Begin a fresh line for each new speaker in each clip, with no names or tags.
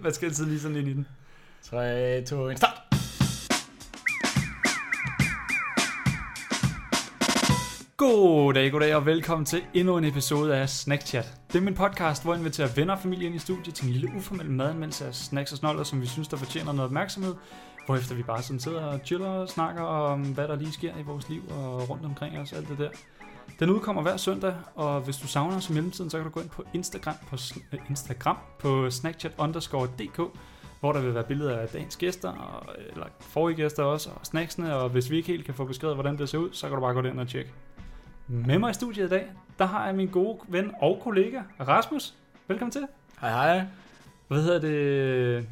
Hvad skal altid lige sådan ind i den?
3, 2, 1, start!
Goddag, goddag og velkommen til endnu en episode af Snackchat. Det er min podcast, hvor jeg inviterer venner og familie ind i studiet til en lille uformel madanmeldelse af snacks og snoller, som vi synes, der fortjener noget opmærksomhed. Hvorefter vi bare sådan sidder og chiller og snakker om, hvad der lige sker i vores liv og rundt omkring os, alt det der. Den udkommer hver søndag, og hvis du savner os i mellemtiden, så kan du gå ind på Instagram på, sn- øh, Instagram på snackchat underscore dk, hvor der vil være billeder af dagens gæster, og, eller forrige gæster også, og snacksene, og hvis vi ikke helt kan få beskrevet, hvordan det ser ud, så kan du bare gå ind og tjekke. Med mig i studiet i dag, der har jeg min gode ven og kollega, Rasmus. Velkommen til.
Hej hej.
Hvad hedder det?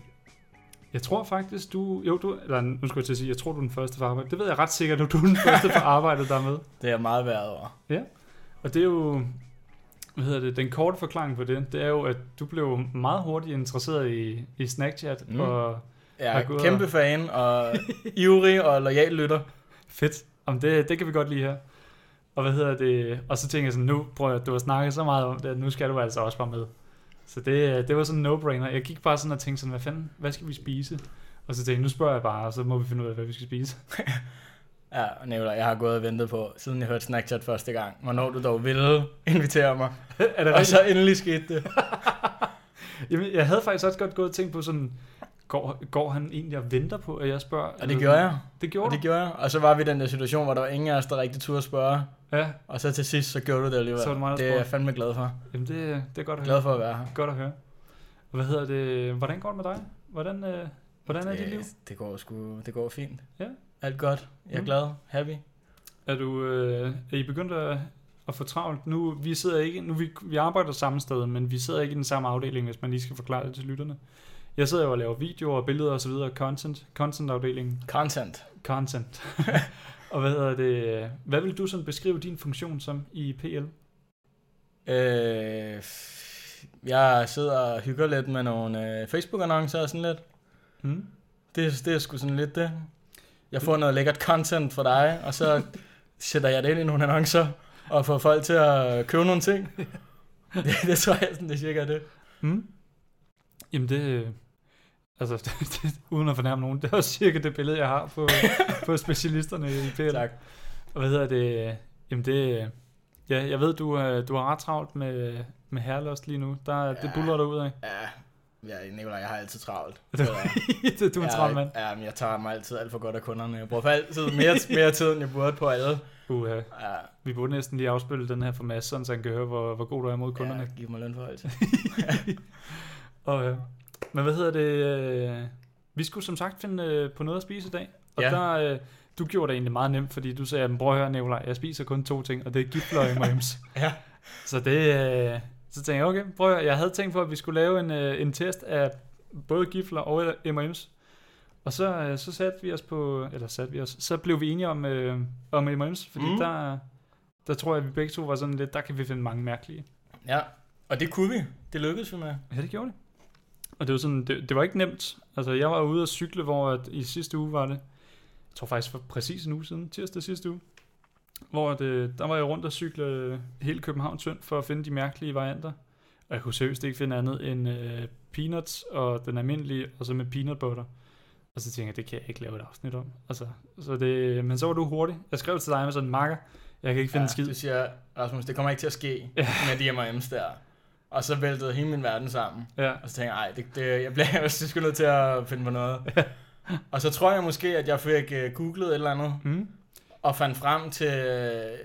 Jeg tror faktisk, du... Jo, du... Eller nu skulle jeg til at sige, jeg tror, du er den første for arbejde. Det ved jeg ret sikkert, at du er den første for arbejdet, der er med.
Det er meget værd over.
Og det er jo... Hvad hedder det? Den korte forklaring på det, det er jo, at du blev meget hurtigt interesseret i, i Snackchat.
Mm.
Mm. Og
Jeg
Tak, Gud.
er kæmpe fan og ivrig og lojal lytter.
fedt. Om det, det kan vi godt lide her. Og hvad hedder det? Og så tænker jeg sådan, nu prøver jeg, du har snakket så meget om det, at nu skal du altså også bare med. Så det, det var sådan en no-brainer. Jeg gik bare sådan og tænkte sådan, hvad fanden, hvad skal vi spise? Og så tænkte jeg, nu spørger jeg bare, og så må vi finde ud af, hvad vi skal spise.
Ja, Nicolaj, jeg har gået og ventet på, siden jeg hørte Snackchat første gang, hvornår du dog ville invitere mig.
er det
Og
rigtigt?
så endelig skete det.
Jamen, jeg havde faktisk også godt gået og tænkt på sådan, går, går han egentlig og venter på, at jeg spørger?
Og det gjorde jeg.
Det
Og
gjorde
det
du?
gjorde jeg. Og så var vi i den der situation, hvor der var ingen af os, der rigtig turde spørge.
Ja,
Og så til sidst, så gjorde du det alligevel.
Så var det mig, der
det er jeg
spurgte.
fandme glad for.
jamen det, det er godt at høre.
Glad for at være her.
Godt at høre. Og hvad hedder det, hvordan går det med dig? Hvordan, øh, hvordan er dit liv?
Det går sgu, det går fint.
Ja.
Alt godt. Jeg er
Mm.
glad. Happy.
Er du, øh, er I begyndt at, at få travlt? Nu, vi sidder ikke, nu vi, vi arbejder samme sted, men vi sidder ikke i den samme afdeling, hvis man lige skal forklare det til lytterne. Jeg sidder jo og laver videoer og billeder og så videre, content, content-afdelingen,
Content.
content. og hvad hedder det, hvad vil du sådan beskrive din funktion som i PL?
Øh, f- jeg sidder og hygger lidt med nogle øh, Facebook-annoncer og sådan lidt.
Hmm?
Det, det er sgu sådan lidt det. Jeg får noget lækkert content fra dig, og så sætter jeg det ind i nogle annoncer og får folk til at købe nogle ting. Det, det tror jeg sådan, det er cirka det.
Hmm? Jamen det, øh, altså det, det, uden at fornærme nogen, det er også cirka det billede, jeg har på, på specialisterne i PL.
Tak.
Og hvad hedder det? Jamen det... Ja, jeg ved, du, øh, du har ret travlt med, med herrelost lige nu. Der, ja. Det
Ja.
buller dig ud af.
Ja, ja Nicolaj, jeg har altid travlt.
Du, du er en travl mand.
Ja, men jeg tager mig altid alt for godt af kunderne. Jeg bruger for altid mere, mere tid, end jeg burde på alle.
Uha.
Ja,
Vi burde næsten lige afspille den her for Mads, sådan så han kan høre, hvor, hvor god du er mod kunderne.
kunderne ja, giver mig lønforhøjelse.
Og, øh, men hvad hedder det? øh, Vi skulle som sagt finde øh, på noget at spise i dag. Og
Ja.
ja. der, øh, du gjorde det egentlig meget nemt, fordi du sagde, "Men prøv at høre, Nicolaj, jeg spiser kun to ting, og det er gifler og M&M's.
Ja.
Så det, øh, så tænkte jeg, okay, prøv at høre. Jeg havde tænkt på, at vi skulle lave en, øh, en test af både gifler og M&M's. Og så, øh, så satte vi os på, eller satte vi os, så blev vi enige om, øh, om M&M's, fordi
Mm.
mm. der, der tror jeg, at vi begge to var sådan lidt, der kan vi finde mange mærkelige.
Ja, og det kunne vi. Det lykkedes vi med.
Ja, det gjorde det. Og det var sådan, det, det var ikke nemt. Altså, jeg var ude at cykle, hvor at i sidste uge var det, jeg tror faktisk for præcis en uge siden, tirsdag sidste uge, hvor at, øh, der var jeg rundt og cykle øh, hele København tynd for at finde de mærkelige varianter. Og jeg kunne seriøst ikke finde andet end øh, peanuts og den almindelige, og så med peanut butter. Og så tænkte jeg, det kan jeg ikke lave et afsnit om. Altså, så det, men så var du hurtig. Jeg skrev til dig med sådan en marker. Jeg kan ikke finde ja,
ja,
en skid.
Du siger, Rasmus, det kommer ikke til at ske med de M&M's der. Og så væltede hele min verden sammen.
Ja,
Og så tænkte jeg, ej, det, det, jeg bliver jeg sgu nødt til at finde på noget. og så tror jeg måske, at jeg fik øh, googlet et eller andet,
mm,
og fandt frem til øh,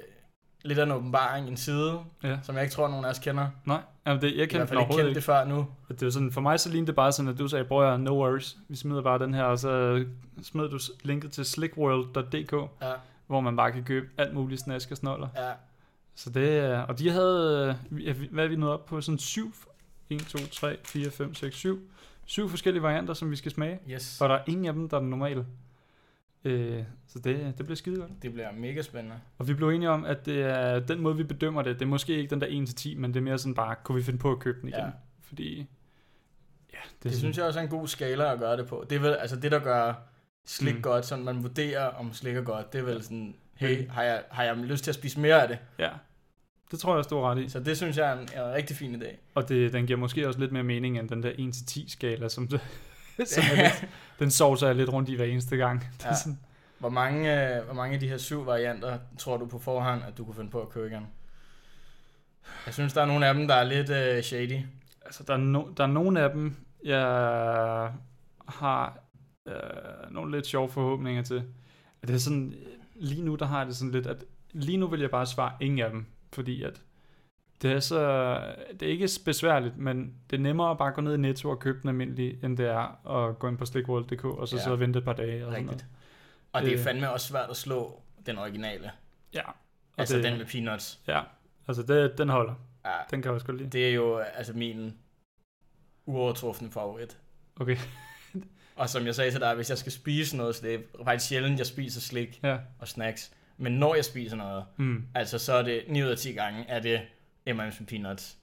lidt af en åbenbaring, en side,
ja.
som jeg ikke tror, nogen af os kender.
Nej, jamen det, jeg
Jeg I hvert
kendte den
fald ikke
overhovedet
kendt
ikke.
det før nu.
Og Det var sådan, for mig så lignede det bare sådan, at du sagde, bror, no worries, vi smider bare den her, og så smed du s- linket til slickworld.dk,
Ja,
hvor man bare kan købe alt muligt snask og snoller.
ja.
Så det er, og de havde, øh, ja, vi- hvad er vi nået op på, sådan syv, 1, 2, 3, 4, 5, 6, 7, syv forskellige varianter, som vi skal smage,
Yes.
og der er ingen af dem, der er den normale. Øh, så det, det bliver skide godt.
Det bliver mega spændende.
Og vi blev enige om, at det er den måde, vi bedømmer det. Det er måske ikke den der 1-10, men det er mere sådan bare, kunne vi finde på at købe den igen?
Ja.
Ja. Fordi, ja, det,
Det, det synes jeg også er en god skala at gøre det på. Det er vel, altså det, der gør slik mm.
Mm.
godt, sådan man vurderer, om slik er godt, det er vel sådan, hey, har jeg, har jeg lyst til at spise mere af det?
Ja. Det tror jeg også, du har ret i.
Så det synes jeg er en, er en rigtig fin idé.
Og det, den giver måske også lidt mere mening end den der 1-10 skala, som, det, som er lidt, den sovser jeg lidt rundt i hver eneste gang. Det er
Ja.
sådan,
Hvor mange, øh, hvor mange af de her syv varianter tror du på forhånd, at du kunne finde på at købe igen? Jeg synes, der er nogle af dem, der er lidt øh, shady.
altså, der, er no, der er nogle af dem, jeg har øh, nogle lidt sjove forhåbninger til. At Det er sådan, lige nu der har jeg det sådan lidt, at lige nu vil jeg bare svare ingen af dem, fordi at det er, så, det er ikke besværligt, men det er nemmere at bare gå ned i Netto og købe den almindelige, end det er at gå ind på slikworld.dk og så
Ja.
ja. sidde og vente et par dage. Og sådan noget.
Rigtigt. Og det er
Øh.
fandme også svært at slå den originale.
Ja. Og
Altså det... den med peanuts.
Ja, altså det, den holder.
Ja,
Den kan jeg også godt lide.
det er jo øh, altså min uovertrufne favorit.
Okay.
Og som jeg sagde til dig, hvis jeg skal spise noget, så det er faktisk sjældent, jeg spiser slik
Ja.
og snacks. Men når jeg spiser noget,
Mm.
Altså, så er det 9 ud af 10 gange, er det M&M's med peanuts.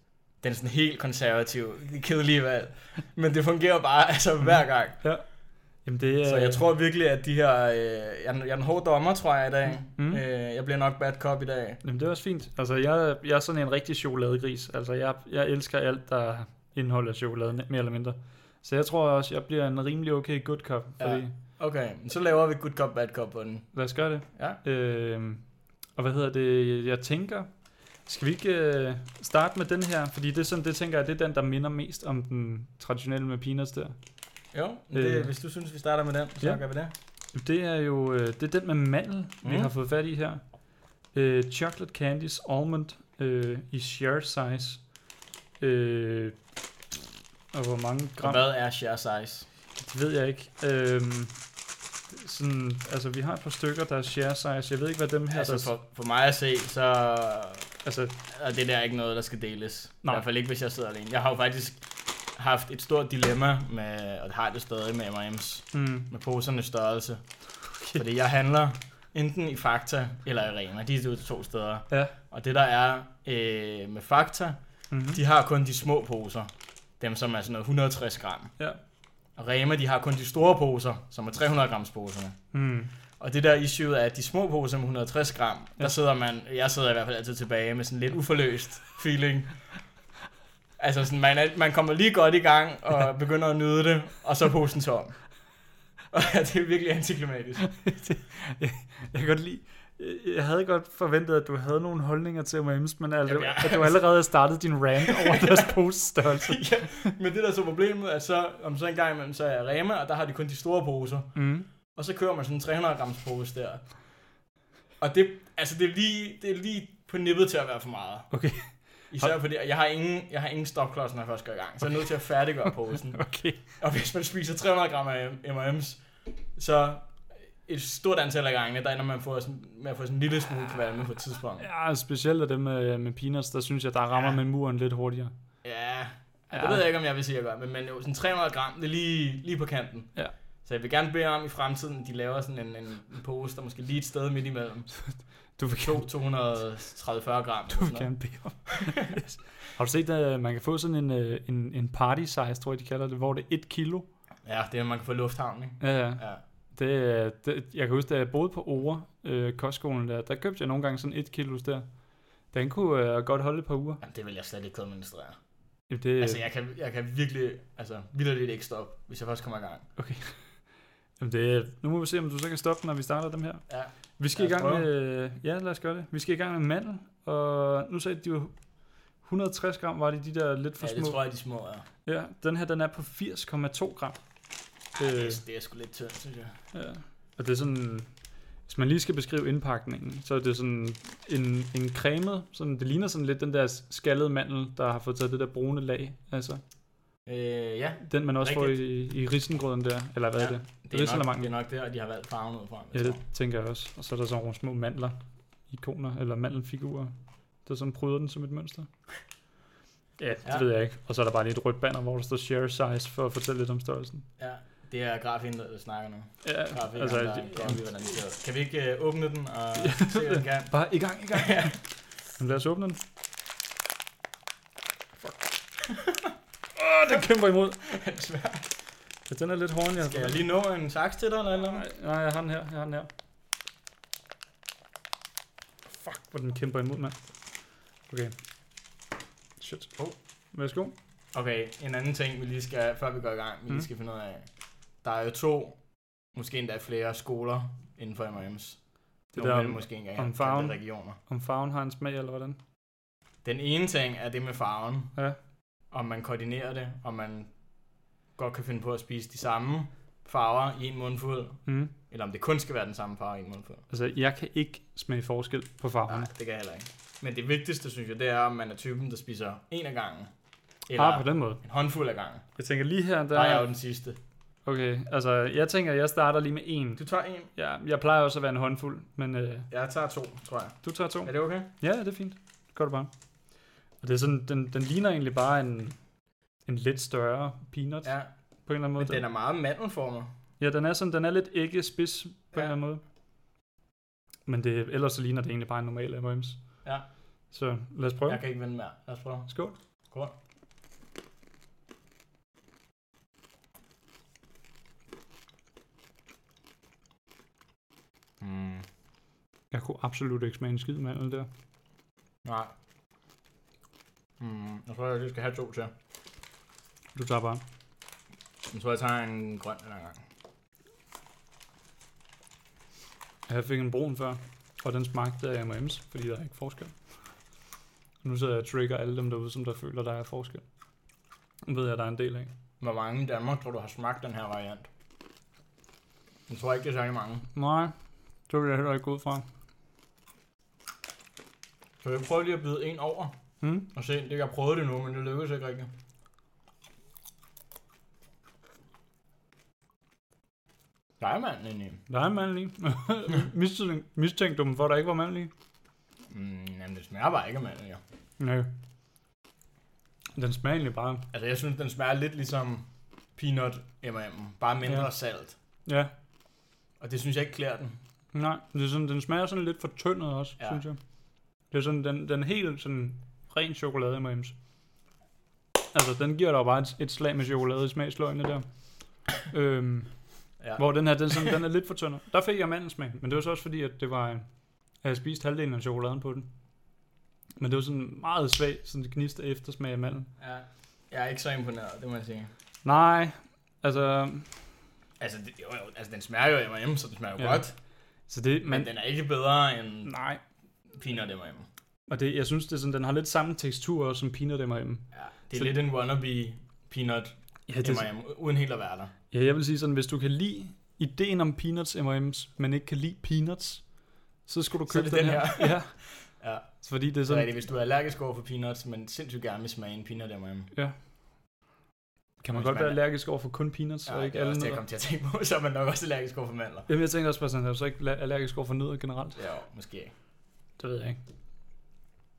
Den er sådan helt konservativ, kedelige valg. Men det fungerer bare altså, hver gang.
Jamen det er...
Så jeg tror virkelig, at de her... Øh, jeg, er en- jeg er en hård dommer, tror jeg, i dag. Mm.
Mm.
Øh, jeg bliver nok bad cop i dag.
Jamen det er også fint. Altså jeg, jeg er sådan en rigtig chokoladegris. Altså jeg, jeg elsker alt, der indeholder chokolade, mere eller mindre. Så jeg tror også, jeg bliver en rimelig okay good cop. Fordi, ja.
Okay, men så laver vi good cop, bad cop på den.
lad os gøre det.
Ja.
Øhm, og hvad hedder det? Jeg tænker... Skal vi ikke øh, starte med den her? Fordi det er sådan, det tænker jeg, det er den, der minder mest om den traditionelle med peanuts der.
Jo, det,
Øh.
hvis du synes, vi starter med den, så
Ja.
gør vi det.
Det er jo øh, det er den med mandel, mm. vi
Mm.
har fået fat i her. Øh, chocolate candies almond øh, i share size. Øh, og hvor mange
Og
gram,
hvad er share size?
det ved jeg ikke. Øh, sådan, altså, vi har et par stykker, der er share size. Jeg ved ikke, hvad dem her...
Altså,
der,
for, for mig at se, så
altså,
Og det der er ikke noget, der skal deles. Nej.
Nej.
I hvert fald ikke, hvis jeg sidder alene. Jeg har jo faktisk haft et stort dilemma med, og det har det stadig med M&M's,
mm,
med posernes størrelse. Okay. Fordi jeg handler enten i Fakta eller i Rema. De er de to steder.
Ja.
Og det der er øh, med Fakta,
mm-hmm.
de har kun de små poser. Dem, som er sådan noget 160 gram.
Ja.
Og Rema, de har kun de store poser, som er 300 grams poserne.
Mm,
Og det der issue er, at de små poser med 160 gram, ja.
Ja.
der sidder man, jeg sidder i hvert fald altid tilbage med sådan lidt uforløst feeling. Altså sådan, man, er, man kommer lige godt i gang og begynder at nyde det, og så er posen tom. Og det er virkelig antiklimatisk.
jeg kan godt lide... jeg- Jeg havde godt forventet, at du havde nogle holdninger til M&M's, men altså,
Jamen, jeg-
at du allerede havde startet din rant over deres poststørrelse.
ja, men det der er så problemet, at så, om så en gang imellem, så er jeg Rema, og der har de kun de store poser.
Mm.
Og så kører man sådan en 300 grams pose der. Og det, altså det er lige, det er lige på nippet til at være for meget.
Okay.
Især fordi, og jeg har ingen, jeg har ingen stopklods, når jeg først går i gang. Så jeg er nødt til at færdiggøre posen.
Okay.
Og hvis man spiser 300 gram af M&M's, så et stort antal af gangene, der ender man får sådan, med at få sådan en lille smule kvalme på et tidspunkt.
Ja, specielt af dem med, med peanuts, der synes jeg, der rammer
Ja.
ja. med muren lidt hurtigere.
Ja,
Ja.
det ved jeg ikke, om jeg vil sige, at jeg gør, men, men jo, sådan 300 gram, det er lige, lige på kanten.
Ja.
Så jeg vil gerne bede om i fremtiden, at de laver sådan en, en, en pose, der måske lige et sted midt imellem.
Du vil gerne,
To- 230 gram. eller
du
sådan
vil
noget.
gerne bede om. yes. Har du set, at man kan få sådan en, øh, en, en party size, tror jeg, de kalder det, hvor det er et kilo?
Ja, det er, man kan få i lufthavnen, ikke?
Ja, ja.
Ja.
Det, er- det, jeg kan huske, da jeg boede på Ore, øh, kostskolen der, der købte jeg nogle gange sådan et kilos der. Den kunne øh, godt holde et par uger.
Jamen, det vil jeg slet ikke kunne administrere.
Jamen, Det,
Altså, jeg kan, jeg kan virkelig, altså, vildt ikke stoppe, hvis jeg først kommer i gang.
jamen, det, nu må vi se, om du så kan stoppe, når vi starter dem her.
Ja.
Vi skal i
Lad os
gang med... øh, Ja, lad os gøre det. Vi skal i gang med mandel, og nu sagde de jo 160 gram, var det de der lidt for
ja,
små?
det tror jeg, de små er.
Ja, den her den er på 80,2 gram.
Øh. Det,
Øh,
er, det er sgu lidt tyndt, synes jeg.
ja. Og det er sådan, hvis man lige skal beskrive indpakningen, så er det sådan en, en cremet, sådan, det ligner sådan lidt den der skaldede mandel, der har fået taget det der brune lag, altså
Øh, ja,
den man også får i, i risengrøden der, eller hvad ja,
Ja,
er det?
det
lidt
er, nok,
salamangen.
det er nok der, de har valgt farven ud fra. altså. vil
Ja,
jeg
det
tro.
tænker jeg også. Og så er der sådan nogle små mandler, ikoner, eller mandelfigurer, der sådan pryder den som et mønster. Ja, det
Ja.
ja. ved jeg ikke. Og så er der bare lige et rødt banner, hvor der står share size, for at fortælle lidt om størrelsen.
ja, det er grafen, der, der snakker nu.
Ja,
Grafen, altså,
altså,
der,
det-
går vi, hvordan de ser ud. Kan vi ikke øh, åbne den og se, hvad den kan?
Bare i gang, i gang.
Ja.
Men lad os åbne den. Fuck. Åh, oh, den kæmper imod. Ja, den er lidt hård, end jeg
Skal jeg lige nå en saks til dig, eller eller?
Nej, nej, jeg har den her. Jeg har den her. Fuck, hvor den kæmper imod, mand. Okay. Shit. Oh. Værsgo.
Okay, en anden ting, vi lige skal, før vi går i gang, vi
Mm.
lige skal finde ud af. Der er jo to, måske endda flere skoler inden for M&M's.
Det
Det
der
der
om-
måske engang
om
have kaldt
farven.
det regioner.
Om farven har en smag, eller hvordan?
Den ene ting er det med farven.
Ja.
Om man koordinerer det, om man godt kan finde på at spise de samme farver i en mundfuld,
Mm.
eller om det kun skal være den samme farve i en mundfuld.
Altså, jeg kan ikke smage forskel på farven.
Nej, det kan jeg heller ikke. Men det vigtigste, synes jeg, det er, om man er typen, der spiser en af gangen. Eller
Ah, på den måde.
en håndfuld af gangen.
Jeg tænker lige her,
Der er jeg jo
der...
den sidste.
Okay, altså, jeg tænker, jeg starter lige med en.
Du tager en.
Ja, jeg plejer også at være en håndfuld, men øh,
Jeg tager to, tror jeg.
du tager to.
Er det okay?
Ja, det er fint. Gør det bare. Og det er sådan, den, den ligner egentlig bare en, en lidt større peanut ja,
Ja,
på en eller anden måde.
men den er meget mandelformet.
Ja, den er sådan, den er lidt ikke spids på ja. en
Ja.
eller anden måde. Men det, ellers så ligner det egentlig bare en normal M&M's.
Ja.
Så lad os prøve.
Jeg kan ikke vende mere. Lad os prøve.
Skål.
Skål. Mm.
Jeg kunne absolut ikke smage en skid mandel der.
Nej. Mm, jeg tror, jeg lige skal have to til.
Du tager bare.
Jeg tror, jeg tager en grøn den her gang.
Jeg fik en brun før, og den smagte af M&M's, fordi der er ikke forskel. Nu sidder jeg og trigger alle dem derude, som der føler, der er forskel. Det ved jeg, der er en del af.
Hvor mange i Danmark tror du har smagt den her variant? Jeg tror ikke, det er særlig mange.
Nej, det vil jeg heller ikke gå ud fra.
Så jeg prøver lige at bide en over
Hmm?
og se. Det, jeg prøvede det nu, men det lykkedes ikke rigtigt. Der er manden inde i.
Der er en mandel i. Mistænkte- Mistænkte du dem for, at der ikke var mandel i?
Mm, jamen, det smager bare ikke af manden, ja.
Nej. Den smager egentlig bare.
Altså, jeg synes, den smager lidt ligesom peanut M&M. Bare mindre
Ja.
ja. salt.
Ja,
Og det synes jeg ikke klæder den.
nej. Det er sådan, den smager sådan lidt fortyndet også, ja.
Ja.
synes jeg. Det er sådan, den, den helt sådan ren chokolade M&M's. Altså, den giver dig jo bare et, et slag med chokolade i smagsløgene der. Øhm,
Ja.
Hvor den her, den, sådan, den er lidt for tynd. Der fik jeg mandensmag, men det var så også fordi, at det var, at jeg spiste halvdelen af chokoladen på den. Men det var sådan meget svag, sådan det gniste eftersmag af mandel.
ja. Jeg er ikke så imponeret, det må jeg sige.
Nej, altså,
Altså, det, jo, jo, altså den smager jo af M&M, så den smager jo
Ja.
ja. godt.
så det,
Men, men den er ikke bedre end
nej.
peanut M&M.
Og det, jeg synes, det er sådan, den har lidt samme tekstur også, som peanut M&M.
Ja, det er
Så-
så... lidt en wannabe peanut
Ja,
ja,
det,
M&M, u- uden helt at være der.
ja, jeg vil sige sådan, hvis du kan lide ideen om peanuts M&M's, men ikke kan lide peanuts, så skulle du
Så er
købe
det
den,
den
her. her. ja,
Ja,
fordi det er
så er
sådan,
det, hvis du er allergisk over for peanuts, men sindssygt gerne vil smage en peanut M&M.
kan man
hvis
godt
man
være
er-
allergisk over for kun peanuts,
Ja,
og
det
ikke
er
alle
også det, jeg
nødder?
kom til at tænke på, så er man nok også allergisk over for mandler.
Jamen, jeg tænker også bare sådan, er du så ikke la- allergisk over for nødder generelt?
Ja, jo, måske ikke.
Det ved jeg ikke.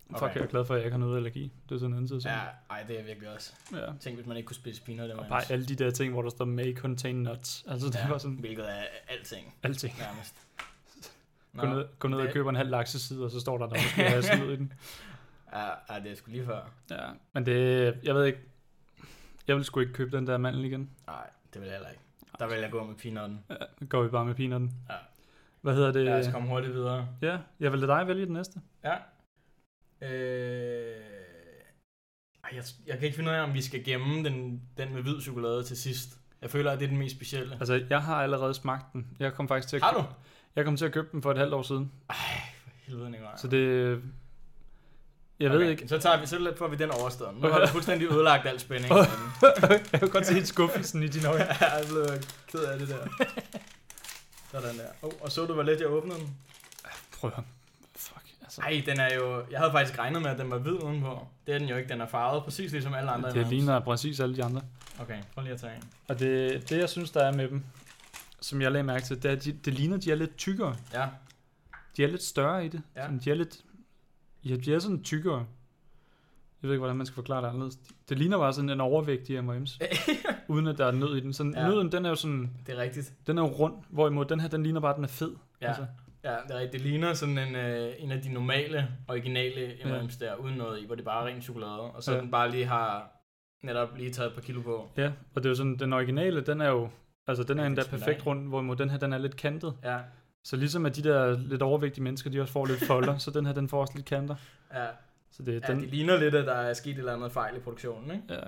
Okay. Fuck,
Okay.
jeg er glad for, at jeg ikke har noget allergi. Det er sådan en anden side.
Ja, ej, det er jeg virkelig også.
ja.
Tænk, hvis man ikke kunne spise peanut M&M's.
Og bare alle de der ting, hvor der står may contain nuts. Altså, det
Ja,
var sådan
Hvilket er alting,
alting.
nærmest.
Gå ned, gå ned og
det-
køber en halv lakseside, og så står der, der måske er snyd i den.
Ja, ja, det er sgu lige før.
Ja, men det, jeg ved ikke, jeg vil sgu ikke købe den der mandel igen.
Nej, det vil jeg heller ikke. Der vil jeg gå med peanutten.
Ja, nu går vi bare med peanutten.
Ja.
Hvad hedder det?
Lad os komme hurtigt videre.
ja, jeg vil lade dig vælge den næste.
Ja. Øh... Ej, jeg, jeg kan ikke finde ud af, om vi skal gemme den, den med hvid chokolade til sidst. Jeg føler, at det er den mest specielle.
Altså, jeg har allerede smagt den. Jeg kom faktisk til at,
Har
købe-
du?
jeg kom til at købe den for et halvt år siden.
For helvede, Nicolaj.
Så det, jeg ved ikke.
Så, tager vi, så får vi den overstået. Nu har du fuldstændig ødelagt al spænding.
jeg kan godt se helt skuffelsen i dine øjne.
jeg blev ked af det der. Sådan der. Oh, og så du, hvor let jeg åbnede den?
Prøv at høre. Fuck, altså.
Nej, den er jo... Jeg havde faktisk regnet med, at den var hvid udenpå. Det er den jo ikke. Den er farvet præcis ligesom alle andre.
Det
M&M's.
ligner præcis alle de andre.
Okay, prøv lige at tage en.
Og det, det, jeg synes, der er med dem, som jeg lagde mærke til, det er, at de, det ligner, de er lidt tykkere.
Ja,
De er lidt større i det. Ja.
Ja.
Sådan, de er lidt... Ja, de er sådan tykkere. Jeg ved ikke, hvordan man skal forklare det anderledes. Det ligner bare sådan en overvægtig M&M's. uden at der er nød i den. Sådan, ja.
Ja.
Nøden, den er jo sådan...
det er rigtigt.
Den er jo rund, hvorimod den her, den ligner bare, at den er fed. Altså,
Ja. Ja, det, er rigtigt. det ligner sådan en, øh, en af de normale, originale M&M's der, uden noget i, hvor det bare er ren chokolade, og så
Ja.
ja. den bare lige har netop lige taget et par kilo på.
ja. Og det er jo sådan, den originale, den er jo... Altså, den er
Ja,
endda
det er
perfekt
sgu
rund, hvorimod den her, den er lidt kantet.
Ja,
Så ligesom at de der lidt overvægtige mennesker, de også får lidt folder, så den her, den får også lidt kanter.
ja.
Så det er
Ja,
den...
det ligner lidt, at der er sket et eller andet fejl i produktionen, ikke?
Ja.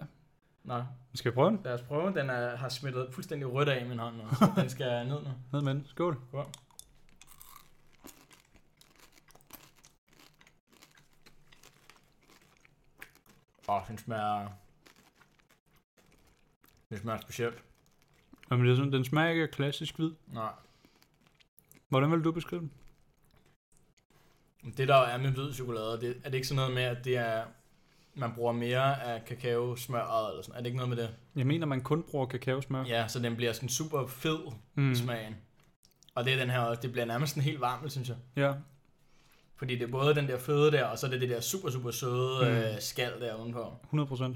Nå,
Skal vi prøve den?
lad os prøve. Den er, har smittet fuldstændig rødt af i min hånd nu, så den skal ned nu.
Ned med den. Skål.
Skål. Åh, den smager... Den smager specielt.
Jamen, det er sådan, den smager ikke af klassisk hvid.
Nej.
Hvordan vil du beskrive den?
Men Det der er med hvid chokolade, det, er det ikke sådan noget med, at det er, man bruger mere af kakao smøret eller sådan? Er det ikke noget med det?
Jeg mener, man kun bruger kakaosmør.
Ja, så den bliver sådan super fed
mm.
mm. smagen. Og det er den her også, det bliver nærmest sådan helt varmt, synes jeg.
Ja.
Fordi det er både den der fede der, og så er det det der super, super søde
Mm.
mm. øh, skal der udenpå.
100%.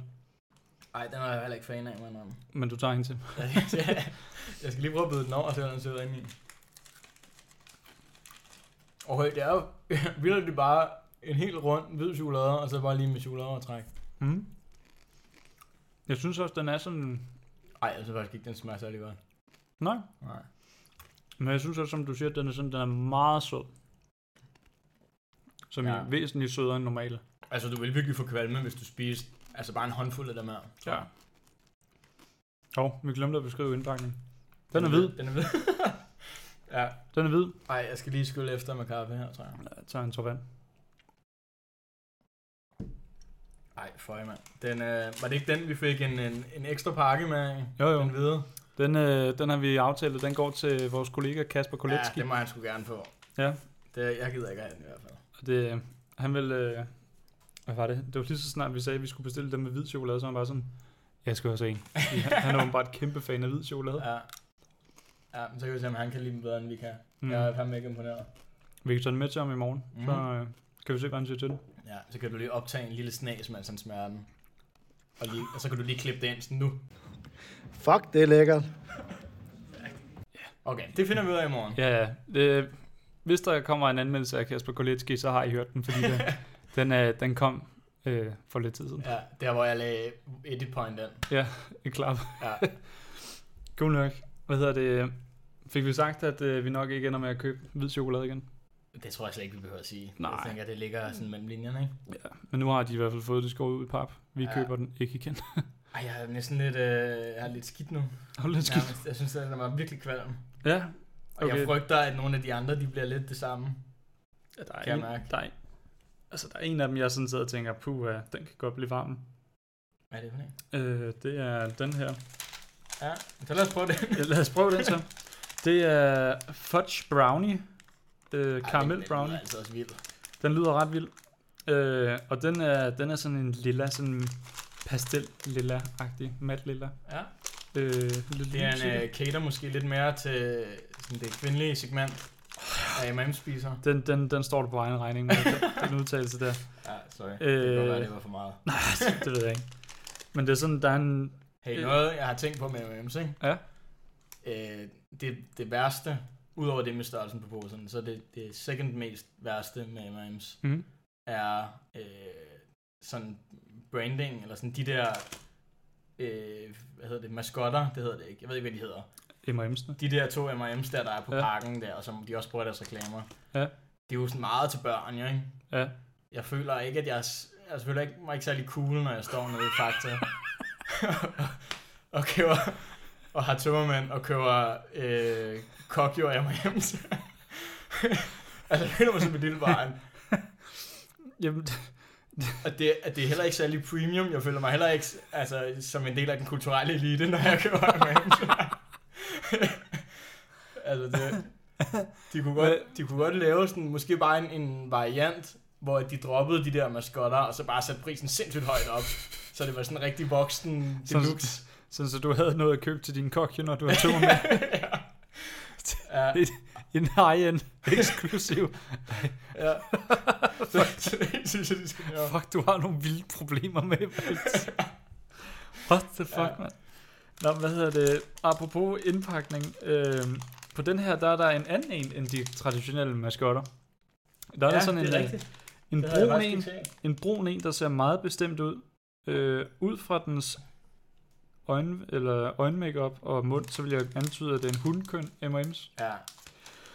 Ej, den er jeg heller ikke fan af, men um,
Men du tager hende til.
jeg skal lige prøve at byde den over, så den sidder inde i. Okay, det er jo virkelig bare en helt rund hvid chokolade, og så bare lige med chokoladeovertræk.
Mm. Jeg synes også, den er sådan...
Nej, jeg synes faktisk ikke, den smager særlig godt.
Nej.
Nej.
Men jeg synes også, som du siger, den er sådan, den er meget sød. Som ja.
Ja.
er væsentligt sødere end normale.
Altså, du vil virkelig få kvalme, hvis du spiser altså bare en håndfuld af dem her.
Ja. Hov, vi glemte at beskrive indpakningen. Den er hvid.
Den er hvid. ja.
Den er hvid.
Ej, jeg skal lige skylle efter med kaffe her, tror jeg.
Jeg tager en tår vand.
Ej, føj, mand. Den, øh, var det ikke den, vi fik en, en, en ekstra pakke med? ikke?
Jo, jo.
Den hvide?
Den, øh, den har vi aftalt, og den går til vores kollega Kasper Koletski.
Ja, det må han sgu gerne få.
Ja.
Det, jeg gider ikke have den i hvert fald.
Og det, han ville, øh, hvad var det? Det var lige så snart, vi sagde, at vi skulle bestille dem med hvid chokolade, så var han bare sådan, jeg skal også have en. Fordi han, han er åbenbart kæmpe fan af hvid chokolade.
Ja. Ja, men så kan vi se, om han kan lide den bedre, end vi kan. Mm.
Mm.
Jeg er fandme ikke imponeret.
Vi kan tage den med til ham i morgen, mm. så
Mhm.
øh, kan vi se, hvad han siger til den.
Ja, så kan du lige optage en lille snas, mens han smager den. Og, lige, og så kan du lige klippe det ind sådan nu.
Fuck, det er lækkert.
Okay, det finder vi ud af i morgen.
Ja, ja. Det, hvis der kommer en anmeldelse af Kasper Koletski, så har I hørt den, fordi den, den, øh, den kom øh, for lidt tid siden.
Ja, der hvor jeg lagde edit point ind.
Et klap.
Ja.
Cool nok. Hvad hedder det? Fik vi sagt, at øh, vi nok ikke ender med at købe hvid chokolade igen?
Det tror jeg slet ikke, vi behøver at sige.
Nej.
Jeg tænker, det ligger sådan mellem linjerne, ikke?
Ja. Men nu har de i hvert fald fået det skåret ud i pap. Vi ja.
Ja.
køber den ikke igen.
Ej, jeg er næsten lidt, øh, jeg er lidt skidt nu.
Hold lidt skidt.
Nærmest, jeg synes, at den var virkelig kvalm.
Ja,
Og okay.
Okay.
jeg frygter, at nogle af de andre, de bliver lidt det samme.
Ja, der
Kan
er,
jeg
en,
mærke.
der, er, altså, der er en af dem, jeg sådan sidder og tænker, puh, ja, den kan godt blive varm.
Hvad er det for en?
Øh, det er den her.
Ja, så lad os prøve det.
Ja, lad os prøve den så. Det er fudge brownie. Øh,
Ej,
caramel
den- Den
brownie.
er altså også vild.
Den lyder ret vild. Øh, og den er, den er sådan en lilla, sådan pastel lilla-agtig, mat lilla.
Ja.
Øh, lidt
Det er en
lys i det.
uh, cater måske lidt mere til sådan det kvindelige segment af M&M-spiser.
den, den, den står du på egen regning med, den, den udtalelse der.
Ja, sorry. Øh... Det kan godt være, det var for meget.
Nej, det ved jeg ikke. Men det er sådan, der er en...
Hey,
Øh.
noget jeg har tænkt på med M&M's, ikke?
Ja.
Øh, det, det værste, udover det med størrelsen på posen, så det, det second mest værste med M&M's
Mm,
er øh, sådan branding, eller sådan de der, øh, hvad hedder det, maskotter, det hedder det ikke, jeg ved ikke, hvad de hedder.
M&M's'ene.
De der to M&M's der, der er på
Ja.
ja. pakken der, og som de også bruger i deres reklamer.
Ja.
Det er jo sådan meget til børn, jo, ikke?
Ja.
Jeg føler ikke, at jeg... s- Jeg føler ikke mig ikke særlig cool, når jeg står nede i Fakta. og køber... Og har tømmermænd og køber øh, kokjo af mig hjem til. altså, jeg føler mig som et lille barn.
Jamen,
Og det, at det er heller ikke særlig premium. Jeg føler mig heller ikke altså, som en del af den kulturelle elite, når jeg køber M&M's. altså det, de, kunne godt, de kunne godt lave sådan, måske bare en, en variant, hvor de droppede de der maskotter, og så bare satte prisen sindssygt højt op. Så det var sådan rigtig voksen
Sådan-
deluxe.
Sådan, så du havde noget at købe til din kok, jo, når du har to med
ja,
en high-end eksklusiv.
ja. Så det synes jeg, de skal lave.
Fuck, du har nogle vilde problemer med Mads. What the fuck, ja.
Ja.
man? Nå, hvad hedder det? Apropos indpakning. Øh, på den her, der er der en anden en, end de traditionelle maskotter. Der er ja, der sådan en, øh, en,
Det havde jeg
brun
faktisk
en,
ikke set.
en brun en, der ser meget bestemt ud. Øh, ud fra dens øjen, eller øjenmakeup og mund, så vil jeg antyde, at det er en hundkøn M&M's,
Ja.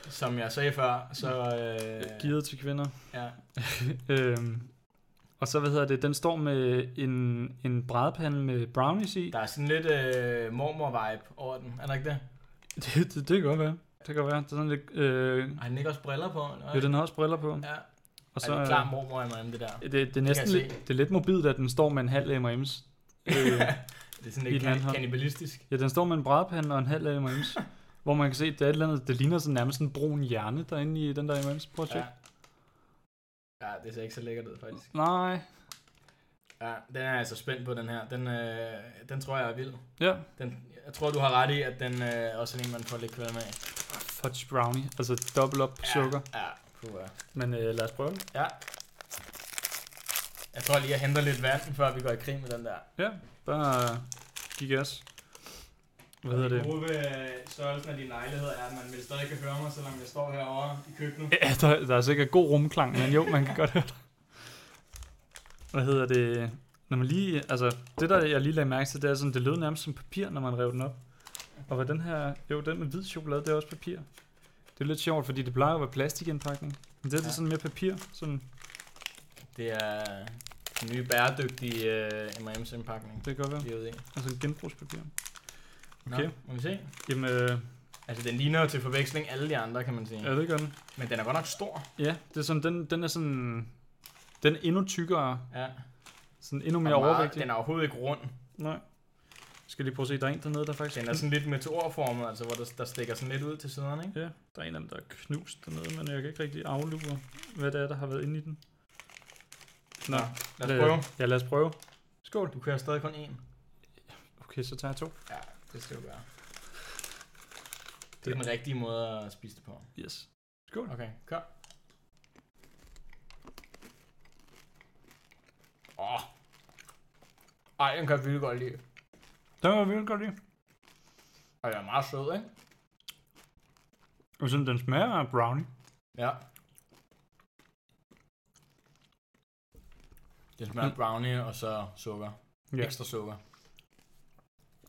Som jeg sagde før, så...
øh,
Øh,
givet til kvinder.
ja.
øhm, Og så, hvad hedder det, den står med en, en brædepande med brownies i.
Der er sådan lidt øh, mormor-vibe over den, er der ikke det?
Det, det, det kan godt være. Det kan godt være. Det er sådan lidt... Øh,
Har den ikke også briller på? Nå,
jo, den har også briller på.
Ja,
Og
så, er det
øh,
klart mormor i mig, det der.
Det, det, er næsten
jeg se.
lidt, det er lidt mobilt, at den står med en halv M&M's. Øh,
Det er sådan
I den anden
lidt kan-
hånd.
kannibalistisk.
ja, den står med en brædepande og en halv M&M's. hvor man kan se, at det er et eller andet, det ligner sådan nærmest en brun hjerne derinde i den der M&M's. Prøv at
Ja.
tjekke.
ja, det ser ikke så lækkert ud, faktisk.
Nej.
Ja, den er jeg altså spændt på, den her. Den, øh, den tror jeg er vild.
Ja.
Den, jeg tror, du har ret i, at den øh, også er en, man får lidt kvalm af.
Fudge brownie. Altså dobbelt op på
Ja,
sukker.
Ja, puha.
Men øh, lad os prøve det.
Ja. Jeg tror lige, jeg henter lidt vand, før vi går i krig med den der.
Ja, der øh, gik jeg også. Hvad hedder det?
gode ved øh, størrelsen af din lejlighed er, at man vil stadig kan høre mig, selvom jeg står herovre i køkkenet.
Ja, der, der er sikkert god rumklang, men jo, man kan godt høre det. Hvad hedder det? Når man lige, altså, det der, jeg lige lagde mærke til, det er sådan, det lød nærmest som papir, når man rev den op. Og var den her, jo, den med hvid chokolade, det er også papir. Det er lidt sjovt, fordi det plejer at være plastikindpakning. Men det er ja.
Ja.
sådan mere papir, sådan,
Det er den nye bæredygtige uh, M&M's indpakning,
det kan godt være.
vi er ude i.
Altså en genbrugspapir. Okay.
Nå, må vi se.
Jamen, øh,
Altså, den ligner jo til forveksling alle de andre, kan man sige.
ja, det gør den.
Men den er godt nok stor.
Ja, det er sådan, den, den er sådan, den er endnu tykkere,
Ja.
sådan endnu
Og
mere
meget-
overvægtig.
Den er overhovedet ikke rund.
Nej. Jeg skal lige prøve at se, der er en dernede, der faktisk
Den er sådan lidt meteorformet, altså hvor der, der stikker sådan lidt ud til siderne, ikke?
Ja, der er en af dem, der er knust dernede, men jeg kan ikke rigtig aflure, hvad det er, der har været inde i den. Nå,
lad os prøve.
Ja, lad os prøve.
Skål. Du kører stadig kun én.
Okay, så tager jeg to.
Ja, det skal du gøre. Det er den rigtige måde at spise det på.
Yes. Skål.
Okay, kør. Åh. Oh. Ej, den kan jeg virkelig godt lide.
Den var virkelig godt lige.
Og den er meget sød, ikke?
Og sådan, den smager af brownie.
Ja. Det smager af brownie og så sukker.
Ja.
Ekstra sukker.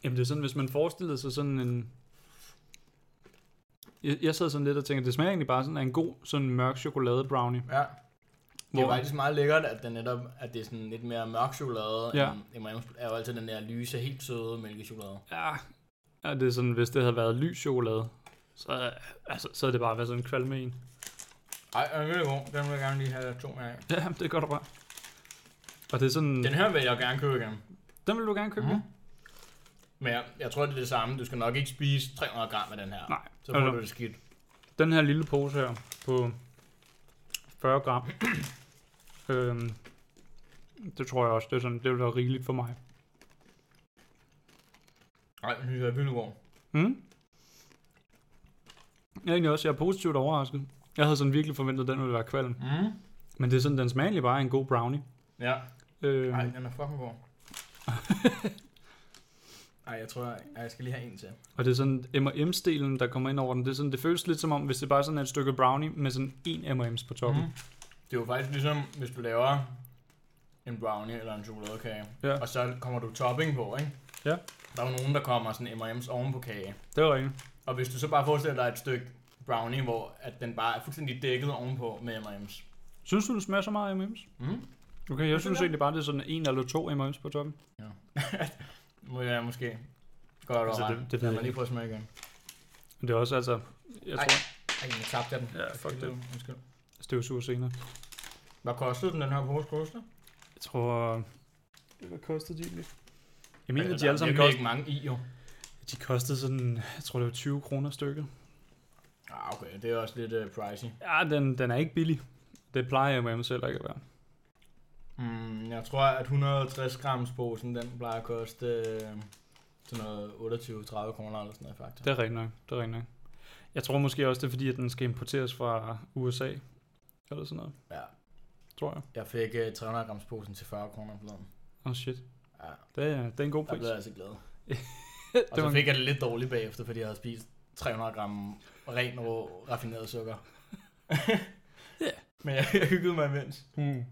Jamen, det er sådan, hvis man forestillede sig sådan en... Jeg, jeg sad sådan lidt og tænkte, det smager egentlig bare sådan af en god, sådan mørk chokolade brownie.
Ja. Det er
Hvor-
faktisk meget lækkert, at, den netop, at det er sådan lidt mere mørk chokolade.
Ja.
Ja. End M&M's er jo altid den der lyse, helt søde mælkechokolade.
Ja, ja det er sådan, hvis det havde været lys chokolade, så, øh, altså, så havde det bare været sådan en kvalme en.
Ej, den er virkelig god. Den vil jeg gerne lige have to af.
Ja, det gør du bare. Og det er sådan...
Den her vil jeg gerne købe igen.
Den vil du gerne købe?
Mhm. Men jeg, jeg tror, det er det samme. Du skal nok ikke spise 300 gram af den her.
Nej.
Så får
Altså-
du det skidt.
Den her lille pose her på 40 gram, øhm, det tror jeg også, det, er sådan, det vil være rigeligt for mig.
Nej, den synes jeg er vildt god.
Mm? Jeg er egentlig også, jeg er positivt overrasket. Jeg havde sådan virkelig forventet, at den ville være kvalm.
Mm.
Men det er sådan, den smager egentlig bare af en god brownie.
Ja.
Øhm,
Nej, den er fucking god. Nej, jeg tror, jeg, ej, jeg skal lige have en til.
og det er sådan M&M-stilen, der kommer ind over den. Det, er sådan, det føles lidt som om, hvis det bare sådan er et stykke brownie med sådan en M&M's på toppen.
Mhm. Det er jo faktisk ligesom, hvis du laver en brownie eller en chokoladekage,
Ja.
og så kommer du topping på, ikke?
Ja.
Der er jo nogen, der kommer sådan M&M's oven på kage.
Det var rigtigt.
Og hvis du så bare forestiller dig et stykke brownie, hvor at den bare er fuldstændig dækket ovenpå med M&M's.
Synes du, det smager så meget af M&M's?
Mm.
Okay, jeg
Det
synes
er-
egentlig bare, det er sådan en eller to M&M's på toppen.
Må jeg måske godt
Altså,
over.
det- det ved
Lad
jeg
mig lige
ikke.
prøve at smage igen.
Men Det er også altså, jeg
Ej.
tror,
Ej, nu tabte jeg den.
Ja, fuck det.
Undskyld.
støvsuger senere.
Hvad kostede den, den her pose koster?
Jeg tror... Øh, Hvad kostede de egentlig? Jeg mener,
Altså,
de
der er
alle sammen
virkelig
kostede,
ikke mange i, jo.
de kostede sådan, jeg tror det var 20 kroner stykket.
Ah, okay. Det er også lidt uh, pricey.
Ja, den, den er ikke billig. Det plejer jeg med mig selv ikke at være.
Mm, jeg tror, at 160 grams posen, den plejer at koste øh, sådan noget 28-30 kroner eller sådan noget, faktisk.
Det er rigtigt nok, det er rigtigt nok. Jeg tror måske også, det er fordi, at den skal importeres fra USA. Eller sådan noget,
Ja.
tror jeg.
Jeg fik øh, 300 grams posen til 40 kroner forleden.
Åh oh shit,
Ja,
det er, det er en god
der
pris.
blev jeg altså glad. Og
det
så
var
fik jeg det lidt dårligt bagefter, fordi jeg havde spist 300 gram ren rå raffineret sukker.
Ja.
Men jeg, jeg hyggede mig imens.
hmm.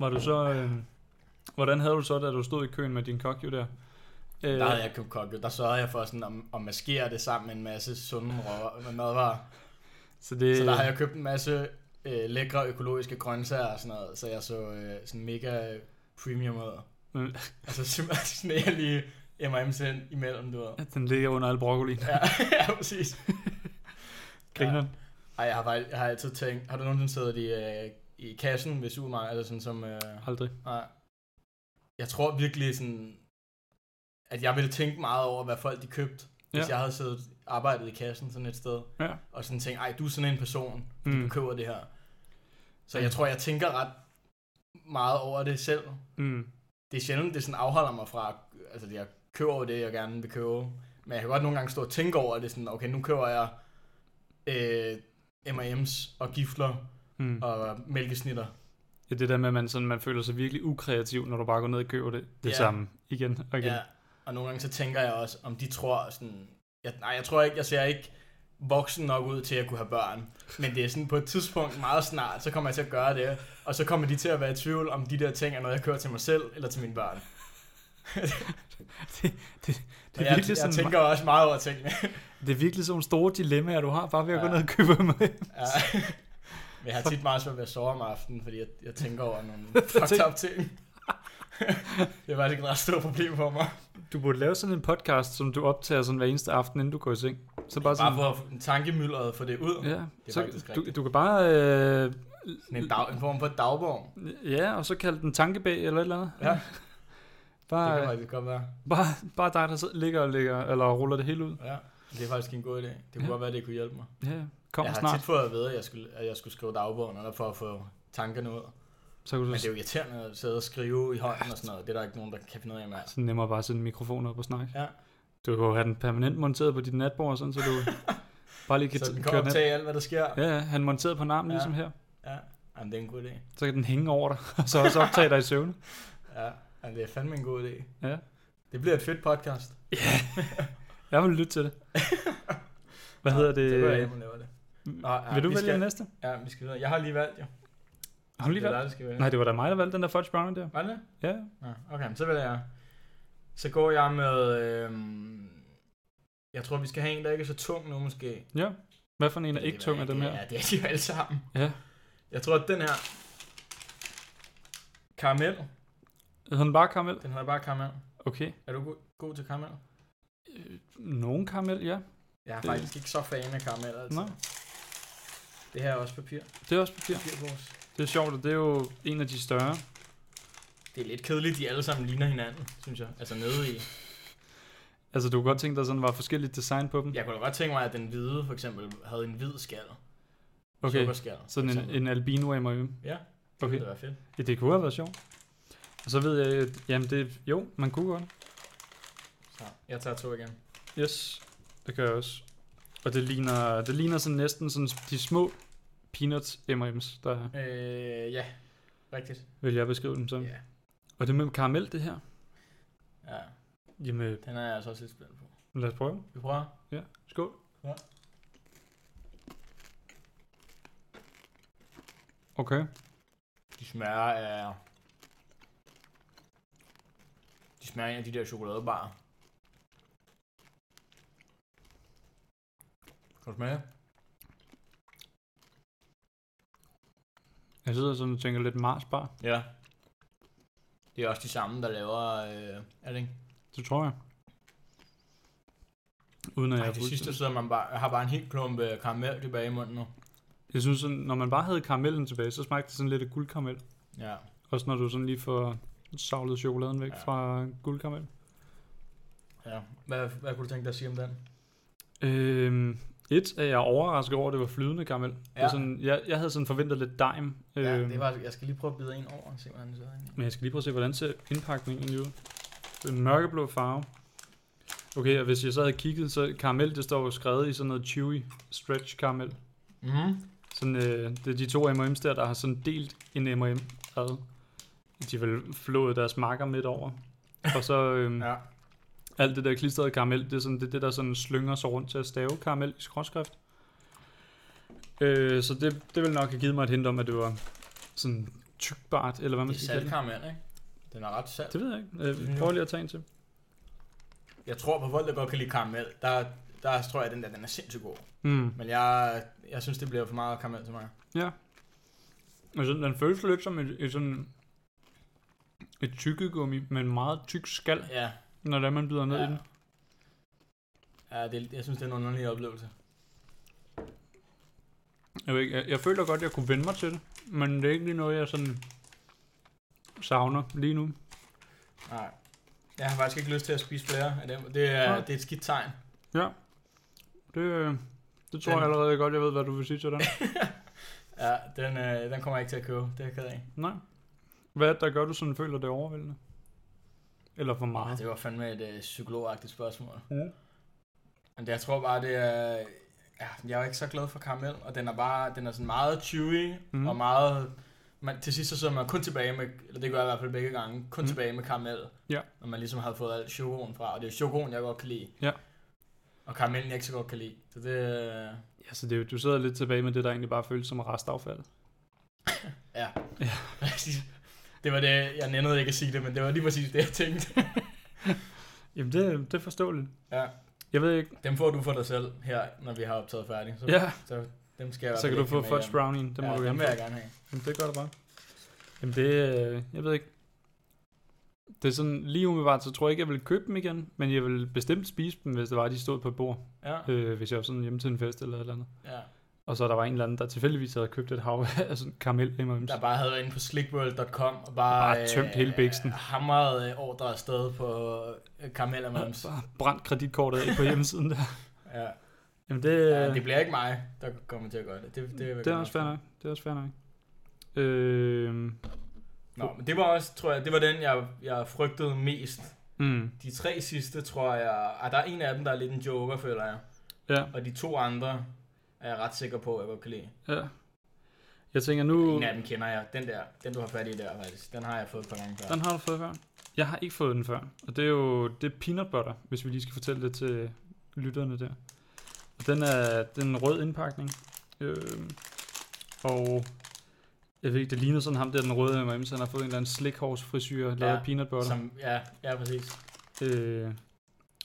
Var du så... Øh, hvordan havde du så, da du stod i køen med din kokju der? Øh,
Der havde jeg købt kokke. Der sørgede jeg for sådan at, at maskere det sammen med en masse sunde råvarer- madvarer.
Så det,
Så der har jeg købt en masse øh, lækre økologiske grøntsager og sådan noget, så jeg så øh, sådan mega øh, premium ud.
Mm.
Altså simpelthen sneg jeg lige M&M's ind imellem, du ved.
Den ligger under al broccoli.
Ja, ja præcis.
Griner. Ja.
Ej, jeg har, faktisk, jeg har altid tænkt, har du nogensinde siddet i, øh, i kassen ved supermarkedet, eller sådan som... Øh,
Aldrig.
Nej. Jeg tror virkelig sådan, at jeg ville tænke meget over, hvad folk de købte, ja. hvis
Ja.
jeg havde siddet arbejdet i kassen sådan et sted,
Ja.
og sådan tænkt, ej, du er sådan en person, du
Mm.
køber det her. Så jeg tror, jeg tænker ret meget over det selv.
Mm.
Det er sjældent, det sådan afholder mig fra, altså jeg køber jo det, jeg gerne vil købe, men jeg kan godt nogle gange stå og tænke over det, sådan, okay, nu køber jeg øh, M&M's og gifler
Mm.
og mælkesnitter.
Ja, det der med, at man, sådan, man føler sig virkelig ukreativ, når du bare går ned og køber det, det
Ja.
samme igen og igen.
Ja, og nogle gange så tænker jeg også, om de tror sådan... Jeg, nej, jeg tror ikke, jeg ser ikke voksen nok ud til at kunne have børn. Men det er sådan på et tidspunkt meget snart, så kommer jeg til at gøre det. Og så kommer de til at være i tvivl, om de der ting er noget, jeg kører til mig selv eller til mine børn.
Det, er
jeg,
virkelig
jeg,
sådan,
tænker også meget over tingene.
det er virkelig sådan nogle store dilemmaer, du har, bare ved at gå
Ja.
ned og købe med.
Ja. Men jeg har tit meget svært ved at sove om aftenen, fordi jeg, jeg tænker over nogle fucked up ting. det er faktisk et ret stort problem for mig.
Du burde lave sådan en podcast, som du optager sådan hver eneste aften, inden du går i seng. Så bare
Bare
sådan,
for at få tankemyldret for det ud.
ja,
Det er
så,
faktisk
du,
rigtigt.
du kan bare, øh,
Sådan en, dag, en form for dagborg.
ja, og så kalde den tankebag eller et eller andet.
Ja, det kan
Bare,
faktisk godt være.
bare, bare dig, der sidder, ligger og ligger, eller ruller det hele ud.
Ja, det er faktisk en god idé. Det kunne
Ja.
ja. godt være, det kunne hjælpe mig.
Ja, ja. kom
jeg har
snart,
tit fået at vide, at jeg skulle, at jeg skulle skrive dagbogen eller for at få tankerne ud.
så kan
Men
du
det er jo irriterende at sidde og skrive i hånden og sådan noget. Det er der ikke nogen, der kan finde ud af med.
sådan nemmere bare at sætte en mikrofon op og snakke.
Ja.
Du kan jo have den permanent monteret på dit natbord, sådan så du bare lige kan
Så den
køre
kan
den hen.
optage alt, hvad der sker. Ja.
Ja, ja, han monteret på en arm,
Ja.
ligesom her.
ja. Jamen, det er en god idé.
Så kan den hænge over dig, og så også optage dig i søvn.
Ja, Jamen, det er fandme en god idé.
Ja.
Det bliver et fedt podcast.
Jeg vil lytte til det. Hvad
Nå,
hedder det? Mm,
Så går jeg hjem og laver det. Nå, ja,
vil du
vi
vælge
skal-
den næste?
Ja, vi skal videre. Jeg har lige valgt, jo.
Har du lige
det er
valgt?
dig, der skal vælge.
Nej, det var da mig, der valgte den der fudge brownie der.
Var det det?
Ja,
Nå, okay, men så vælger jeg. Så går jeg med... Øhm, jeg tror, vi skal have en, der ikke er så tung nu, måske.
ja. Hvad for en er
Det
ikke
ved
tung
jeg
af dem her?
Ja, det er de jo alle sammen.
Ja.
Jeg tror, at den her... Karamel.
Hedder den bare karamel?
Den hedder bare karamel.
Okay.
Er du go- god til karamel?
Øh, Nogen karamel, ja.
Jeg er
Det-
det... faktisk ikke så fan af karamel, altså.
Nej.
Det her er også papir.
Det er også papir.
Papirpose.
Det er sjovt, og det er jo en af de større.
Det er lidt kedeligt, de alle sammen ligner hinanden, synes jeg. Altså nede i...
Altså, du kunne godt tænke dig, sådan var forskelligt design på dem.
Jeg kunne da godt tænke mig, at den hvide for eksempel havde en hvid skal.
okay.
Sukkerskal. for
Sådan en,
eksempel.
en albino M&M.
Ja, det
Okay.
ville være fedt.
Ja, det kunne have været sjovt. Og så ved jeg, at- jamen det, jo, man kunne godt.
Så jeg tager to igen.
Yes, det gør jeg også. Og det ligner, det ligner sådan næsten sådan de små peanuts M&M's, der er,
Øh, ja. Rigtigt.
vil jeg beskrive dem som. Yeah.
Ja.
Og det med karamel, det her.
ja.
Jamen, øh,
Den er jeg altså også lidt spændt på.
lad os prøve.
Vi prøver.
Skål.
Ja.
Okay.
De smager af... De smager af en af de der chokoladebarer. Kan du smage?
Jeg sidder sådan og tænker lidt marsbar.
Ja. Det er også de samme, der laver... Øh, er det ikke?
Det tror jeg. Uden at
Ej,
jeg
det
er
sidste sidder man bare... Jeg har bare en helt klump øh, karamel tilbage i munden nu.
Jeg synes, sådan, når man bare havde karamellen tilbage, så smagte det sådan lidt af guldkaramel.
Ja.
Også når du sådan lige får savlet chokoladen væk ja.
Ja.
fra guldkaramel.
ja. Hvad, hvad kunne du tænke dig at sige om den?
Øhm, et er jeg overrasket over, at det var flydende karamel. Ja. Det er
Ja.
sådan, jeg, jeg havde sådan forventet lidt dime. Øhm,
Ja, det var, jeg skal lige prøve at bide en over og se, hvordan det sidder inde i.
Men jeg skal lige prøve at se, hvordan ser indpakningen egentlig ud. Det er en mørkeblå farve. Okay, og hvis jeg så havde kigget, så karamel, det står jo skrevet i sådan noget chewy stretch karamel.
Mm.
Sådan, øh, det er de to M&M's der, der har sådan delt en M&M ad. De har vel flået deres marker midt over. Og så øhm, ja.
Ja.
alt det der klistrede karamel, det er sådan, det, er det der sådan slynger sig rundt til at stave karamel i skråskrift. Øh, så det, det ville nok have givet mig et hint om, at det var sådan tykbart, eller hvad man
Det er
skal kalde det.
saltkaramel, ikke? Den er ret salt.
Det ved jeg ikke. Øh,
Ja.
prøv lige at tage en til.
Jeg tror på folk, der godt kan lide karamel, der, der tror jeg, at den der den er sindssygt god.
Mm.
Men jeg, jeg synes, det bliver for meget karamel til mig.
Ja. Men sådan, den føles lidt som et, et sådan et tykkegummi med en meget tyk skal,
Ja,
når det er, man bider ned ja. i
ja.
den.
ja det, jeg synes, det er en underlig oplevelse.
Jeg, ved ikke, jeg, jeg føler godt, jeg kunne vende mig til det, men det er ikke lige noget, jeg sådan savner lige nu.
Nej. Jeg har faktisk ikke lyst til at spise flere af dem. Det er,
Nej.
det er et skidt tegn.
Det, øh, det tror
Den-
jeg allerede godt, jeg ved, hvad du vil sige til den.
Ja, den, øh, den kommer jeg ikke til at købe. Det er jeg ked af.
Nej. Hvad er det, der gør, du sådan føler, det er overvældende? Eller for
Ej,
meget?
Det var fandme et øh, psykologagtigt spørgsmål.
Ja.
Men det, jeg tror bare, det er... Ja, jeg er jo ikke så glad for karamel, og den er bare den er sådan meget chewy,
Mhm.
mm. og meget... Man, til sidst så sidder man kun tilbage med, eller det gør jeg i hvert fald begge gange, kun
Mhm.
mm. tilbage med karamel.
Ja.
Når man ligesom havde fået al chokoen fra, og det er jo chokoen, jeg godt kan lide.
Ja.
Og karamellen, jeg ikke så godt kan lide. Så det... øh,
Ja, så det, er jo- du sidder lidt tilbage med det, der egentlig bare føles som restaffald.
Ja.
Ja.
Præcis. det var det, jeg nændede ikke at sige det, men det var lige præcis det, jeg tænkte.
Jamen, det, det er forståeligt.
Ja. Altså,
Jeg ved ikke.
Dem får du for dig selv her, når vi har optaget færdig. Så,
Ja,
så dem skal jeg i hvert
så
fald
kan du
ikke
få
have
fudge
med hjem.
brownie. Det må du
ja, dem
gerne
vil
få.
jeg gerne have.
Jamen, det gør du bare. Jamen, det... Øh, jeg ved ikke. Det er sådan, lige umiddelbart, så tror jeg ikke, jeg vil købe dem igen, men jeg vil bestemt spise dem, hvis det var, at de stod på et bord.
Ja,
Øh, hvis jeg var sådan hjemme til en fest eller et eller andet.
ja.
Og så der var en eller anden, der tilfældigvis havde købt et hav af sådan karamel M&M's.
Der bare havde været inde på slikworld.com og bare,
Bare tømt hele biksen.
hamret øh, ordre afsted på øh, karamel mums.
Bare brændt kreditkortet af på hjemmesiden der.
Ja.
Jamen det, øh,
ja. det bliver ikke mig, der kommer til at gøre det. Det, det, vil jeg
det, det er
gerne
også
have.
fair nok. Det er også fair nok. Øh,
Nå, men det var også, tror jeg, det var den, jeg, jeg frygtede mest.
mm,
De tre sidste, tror jeg... Ah, der er en af dem, der er lidt en joker, føler jeg.
ja,
Og de to andre er jeg ret sikker på, at jeg godt kan lide.
ja. Jeg tænker nu...
En af dem kender jeg. Den der, den du har fat i der, faktisk. Den har jeg fået et par gange før.
Den har du fået før. Jeg har ikke fået den før. Og det er jo det er peanut butter, hvis vi lige skal fortælle det til lytterne der. Og den er den er en rød indpakning. Øh, og jeg ved ikke, det ligner sådan ham der, den røde M&M's, han har fået en eller anden slikhårs frisyr, lavet ja, peanut butter.
Som, ja, ja, præcis.
Øh,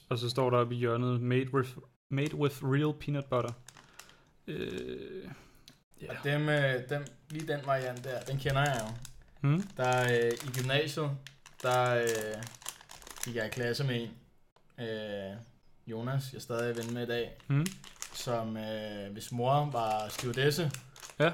og så står der oppe i hjørnet, made with, made with real peanut butter. Øh,
Og dem, øh, dem, lige den variant der, den kender jeg jo.
hmm?
Der øh, i gymnasiet, der øh, gik jeg i klasse med en, øh, Jonas, jeg er stadig ven med i dag,
Hmm?
som øh, hvis mor var stewardesse.
Ja.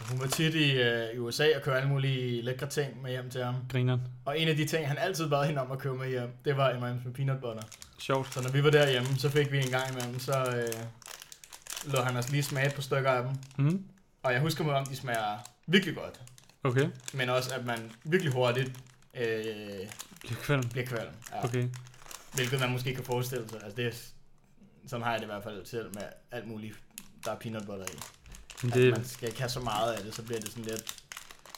Og Hun var tit i, øh, i USA og købte alle mulige lækre ting med hjem til ham.
Grineren.
Og en af de ting, han altid bad hende om at købe med hjem, det var M&M's med peanut butter.
Sjovt.
Så når vi var derhjemme, så fik vi en gang imellem, så øh, lå han os lige smage på stykker af dem.
Hmm?
Og jeg husker mig om, de smager virkelig godt.
Okay.
Men også, at man virkelig hurtigt øh,
Bliver kvalm.
bliver kvalm. Ja. Okay.
Okay.
Hvilket man måske kan forestille sig. Altså, det er, sådan har jeg det i hvert fald selv med alt muligt, der er peanut butter i.
Men
Det... man
det,
skal ikke have så meget af det, så bliver det sådan lidt...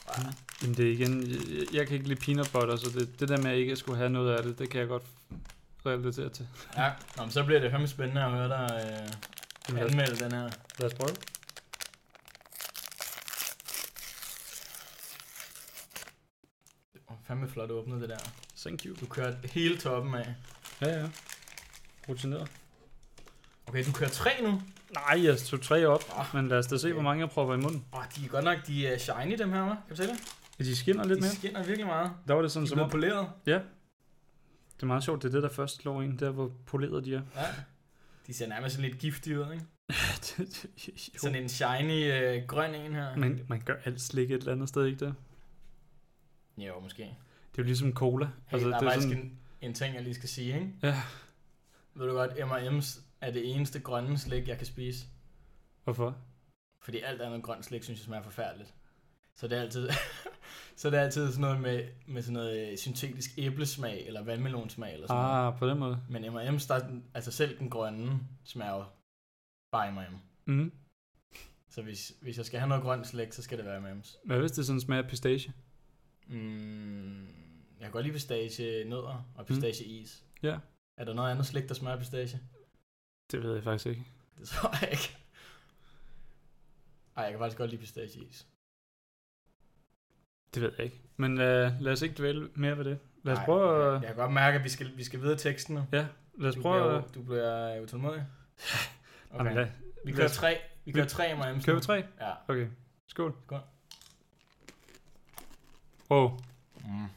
Ah,
men det er igen, jeg, jeg kan ikke lide peanut butter, så det, det der med, at jeg ikke skulle have noget af det, det kan jeg godt relatere til.
Ja, Nå, men så bliver det fandme spændende at høre dig øh,
Jamen,
anmelde den her.
Lad os prøve.
Oh, fandme flot åbnet det der.
Thank you.
Du kørte hele toppen af.
Ja, ja. Rutineret.
Okay, du kører tre nu.
Nej, jeg tog tre op,
Åh.
men lad os da se, hvor mange jeg prøver i munden.
Åh, oh, de er godt nok de er shiny, dem her, hva'? Kan du se det?
De skinner lidt
de
mere.
skinner virkelig meget.
Der var det
De
sådan,
er
som om,
blevet poleret.
det er meget sjovt, det er det, der først slår en, der hvor poleret de er.
Ja. De ser nærmest sådan lidt giftige ud, ikke?
Jo.
Sådan en shiny øh, grøn en her.
Men man gør alt slik et eller andet sted, ikke det?
Jo, måske. Hey,
Det er jo ligesom cola.
altså, der er
det er
faktisk sådan... en, en ting, jeg lige skal sige, ikke?
Ja.
Ved du godt, M&M's er det eneste grønne slik, jeg kan spise.
Hvorfor?
Fordi alt andet grønt slik, synes jeg smager forfærdeligt. Så det er altid, så det er altid sådan noget med, med sådan noget øh, syntetisk æblesmag, eller vandmelonsmag, eller sådan noget.
Ah, på den måde.
Men M&M's, der, er den- altså selv den grønne, smager jo bare M&M.
Mm.
Så hvis, hvis jeg skal have noget grønt slik, så skal det være M&M's.
Hvad hvis det sådan smager af pistache?
Mm, jeg kan godt lide pistache nødder og pistache is.
Mm. Ja.
Er der noget andet slik, der smager af pistache?
Det ved jeg faktisk ikke.
Det tror jeg ikke. Ej, jeg kan faktisk godt lide pistache is.
Det ved jeg ikke. Men uh, lad os ikke dvæle mere ved det. Lad os
Ej,
prøve at...
Jeg, jeg kan godt mærke, at vi skal, vi skal videre i teksten nu.
Ja, lad os
du,
prøve at...
bliver, du bliver øh, utålmodig.
Jamen,
Okay.
lad,
Vi
lad
kører
os-
tre. Vi kører tre M&M's. nu.
kører vi tre?
Ja.
Okay. Skål.
Skål.
Wow.
Mm.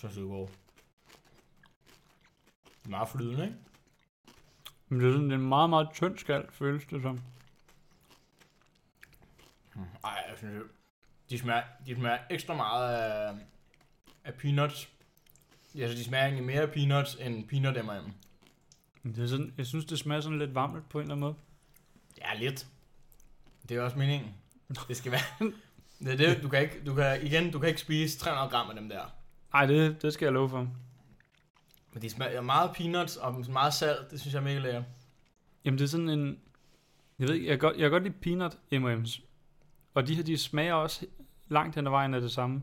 Så er det god. Meget flydende, ikke?
Men det er sådan en meget, meget tynd skal, føles det som.
Mm. Ej, jeg synes, de smager, de smager ekstra meget af, af peanuts. Altså, de smager egentlig mere af peanuts end peanut M&M.
Men Det er sådan, jeg synes, det smager sådan lidt varmt på en eller anden måde.
Ja, lidt. Det er også meningen. Det skal være... Det er det, du kan ikke, du kan, igen, du kan ikke spise 300 gram af dem der.
Nej, det, det skal jeg love for.
Men de smager meget af peanuts og meget salt, det synes jeg er mega lækkert.
Jamen, det er sådan en... Jeg ved ikke, jeg kan godt, jeg kan godt lide peanut M&M's. Og de her, de smager også langt hen ad vejen af det samme.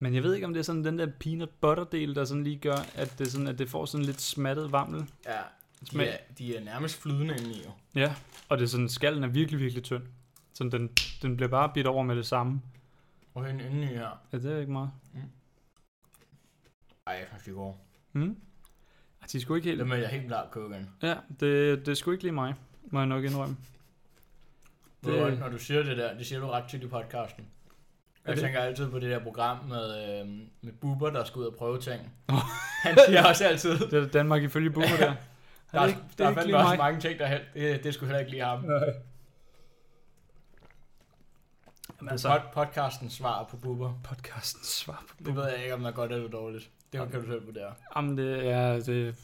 Men jeg ved ikke, om det er sådan den der peanut butter del, der sådan lige gør, at det, sådan, at det får sådan lidt smattet vammel
Ja,
smag.
de er, de er nærmest flydende indeni jo.
Ja, og det er sådan, skallen er virkelig, virkelig tynd. Så den, den bliver bare bidt over med det samme.
Og en indeni her.
Ja, det er ikke meget.
Ej, jeg synes, det går.
Mm. Ej, De er sgu ikke helt...
Dem vil jeg helt klart købe igen.
Ja, det, det er sgu ikke lige mig, må jeg nok indrømme.
Det...
Det-
Godt, når du siger det der, det siger du ret tit i podcasten. Jeg
det-
tænker altid på det der program med, øh, med Bubber, der skal ud og prøve ting. Han siger også altid,
Det er Danmark ifølge Bubber der.
der,
er
er,
ikke- det
der
er
er
ikke
fandme
lige
også
mig.
mange ting, der held. Det, det skulle heller ikke lige ham.
Jamen,
Altså.
altså,
Pod, podcasten svar på Bubber.
podcasten svar på
Det ved jeg ikke, om der er godt eller dårligt. Det kan du selv vurdere.
Jamen, det, ja, det,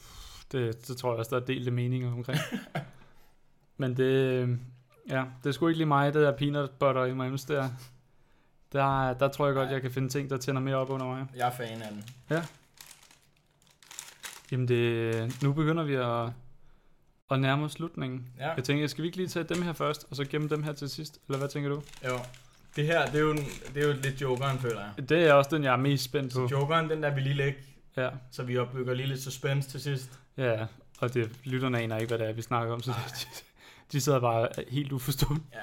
det, det tror jeg også, der er delte meninger omkring. Men det, øh, ja, det er sgu ikke lige mig, det der peanut butter i mig der. Der, der tror jeg godt, jeg kan finde ting, der tænder mere op under mig.
Jeg er fan af den.
Jamen det, nu begynder vi at, at nærme os slutningen.
Ja.
Jeg tænker, skal vi ikke lige tage dem her først, og så gemme dem her til sidst? Eller hvad tænker du?
Jo. Det her, det er jo, en- det er jo lidt jokeren, føler jeg.
Det er også den, jeg er mest spændt på.
Så jokeren, den der vi lige lægge,
Ja,
så vi opbygger lige lidt suspense til sidst.
ja. Og det, lytterne aner ikke, hvad det er, vi snakker om, så de, de sidder bare helt uforstående.
Ja.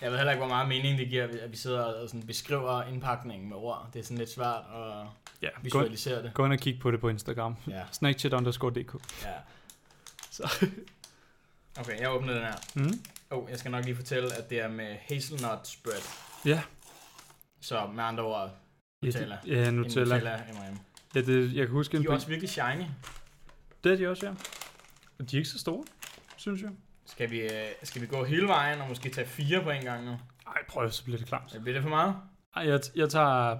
Jeg ved heller ikke, hvor meget mening det giver, at vi sidder og sådan beskriver indpakningen med ord. Det er sådan lidt svært at
Ja, gå, ind-
visualisere det.
gå ind og kig på det på Instagram.
Ja,
Snackchat underscore DK.
ja.
Så.
Okay, jeg åbner den her.
Mm.
Oh, jeg skal nok lige fortælle, at det er med hazelnut spread.
Ja.
Så med andre ord, Nutella.
Ja, det, ja,
en
Nutella.
Nutella M&M.
Ja, det, jeg kan huske en
De er
på-
også virkelig shiny.
Det er de også, ja. Og de er ikke så store, synes jeg.
Skal vi, øh, skal vi gå hele vejen og måske tage fire på en gang nu?
Ej, prøv så bliver det klamt.
Bliver det for meget?
Ej, jeg, jeg tager... Jeg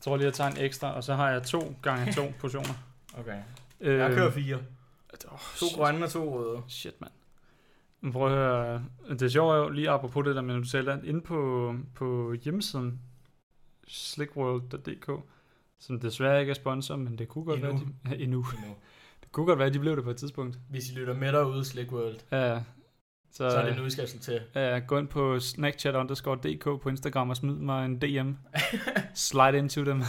tror lige, jeg tager en ekstra, og så har jeg to gange to portioner.
Okay.
Øh,
Jeg kører fire.
oh,
To
shit,
grønne og to røde.
Shit, mand. Men Prøv at høre, øh, det sjove er jo lige apropos det der med Nutella, inde på, på hjemmesiden slickworld.dk, som desværre ikke er sponsor, men det kunne godt
Endnu.
være, de, endnu.
Endnu.
Det kunne godt være, at de blev det på et tidspunkt.
Hvis I lytter med derude, Slick World,
Ja, så,
så er det nu, I skal slå til.
Ja, Øh, gå ind på snackchat underscore dk på Instagram og smid mig en DM. Slide into dem.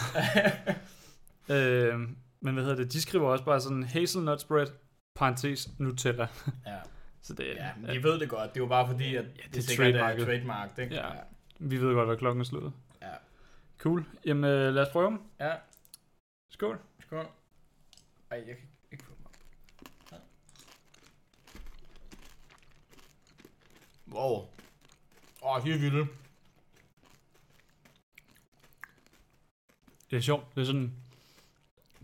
øh, men hvad hedder det? De skriver også bare sådan hazelnut spread, parentes Nutella.
Ja.
Så det,
Ja,
ja,
men de ved det godt. Det er jo bare fordi, at ja, det,
det er
det sikkert
trademarket.
er trademark. Ikke?
Ja. vi ved godt, hvad klokken er slået.
Ja.
Cool. Jamen, øh, lad os prøve dem.
Ja.
Skål.
Skål. Ej, jeg kan ikke få mig. Ja. Wow. Åh, oh, de er vilde.
Det er sjovt. Det er sådan...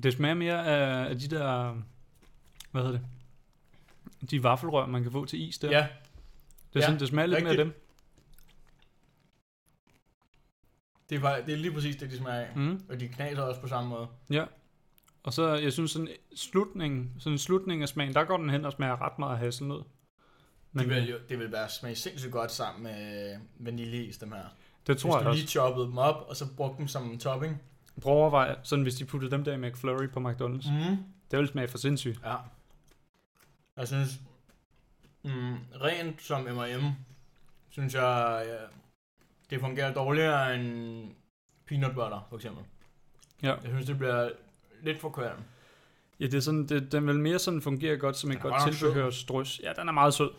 Det smager mere af, af de der... Hvad hedder det? De vaffelrør, man kan få til is der.
Ja,
det, er
ja,
sådan, det smager lidt mere af dem.
det er, bare, det er lige præcis det, de smager af. Mm.
Mm.
Og de knaser også på samme måde.
Og så, jeg synes, sådan slutningen, sådan slutningen af smagen, der går den hen og smager ret meget af hasselnød.
Men,
Men
de
det,
vil jo, det vil bare smage sindssygt godt sammen med vaniljeis, dem her.
det
Hvis
tror jeg
du
da
lige
også.
choppede dem op, og så brugte dem som en topping.
Prøv at overveje, sådan hvis de puttede dem der i McFlurry på McDonald's. Mm.
Mm.
Det ville smage for sindssygt.
Ja. Jeg synes, mm, rent som M&M, synes jeg, ja, det fungerer dårligere end peanut butter, for eksempel.
Ja.
Jeg synes, det bliver lidt for kvalm.
Ja, det er sådan, det, den vil mere sådan fungere godt som et
Den er
godt
godt nok sød.
tilbehør strøs. Ja, den er meget sød.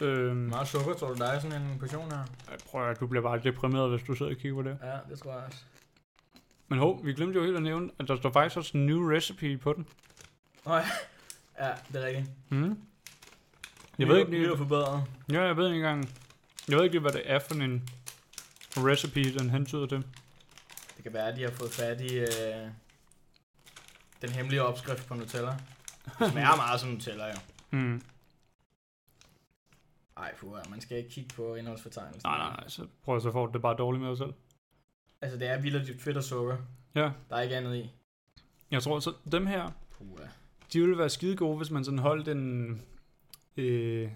Øhm,
Meget sukker, tror du, der er sådan en portion her?
ej, prøv at høre, du bliver bare deprimeret, hvis du sidder og kigger på det.
Ja, det tror jeg også.
Men hov, vi glemte jo helt at nævne, at der står faktisk også en new recipe på den.
Ja, det er rigtigt.
Mm. Jeg ved ikke
lige...
lige,
er forbedret.
ja, jeg ved ikke engang, jeg ved ikke lige, hvad det er for en recipe, den hentyder til.
Det kan være, at de har fået fat i øh, den hemmelige opskrift på Nutella. Det smager meget som Nutella, jo.
Mm.
Ej, puha, man skal ikke kigge på indholdsfortegnelsen.
Nej, nej, nej, så prøver jeg så får du det bare dårligt med dig selv.
Altså, det er vildt dybt fedt og sukker.
Ja.
Der er ikke andet i.
Jeg tror så, dem her,
Puha.
de ville være skide gode, hvis man sådan holdt en, øh,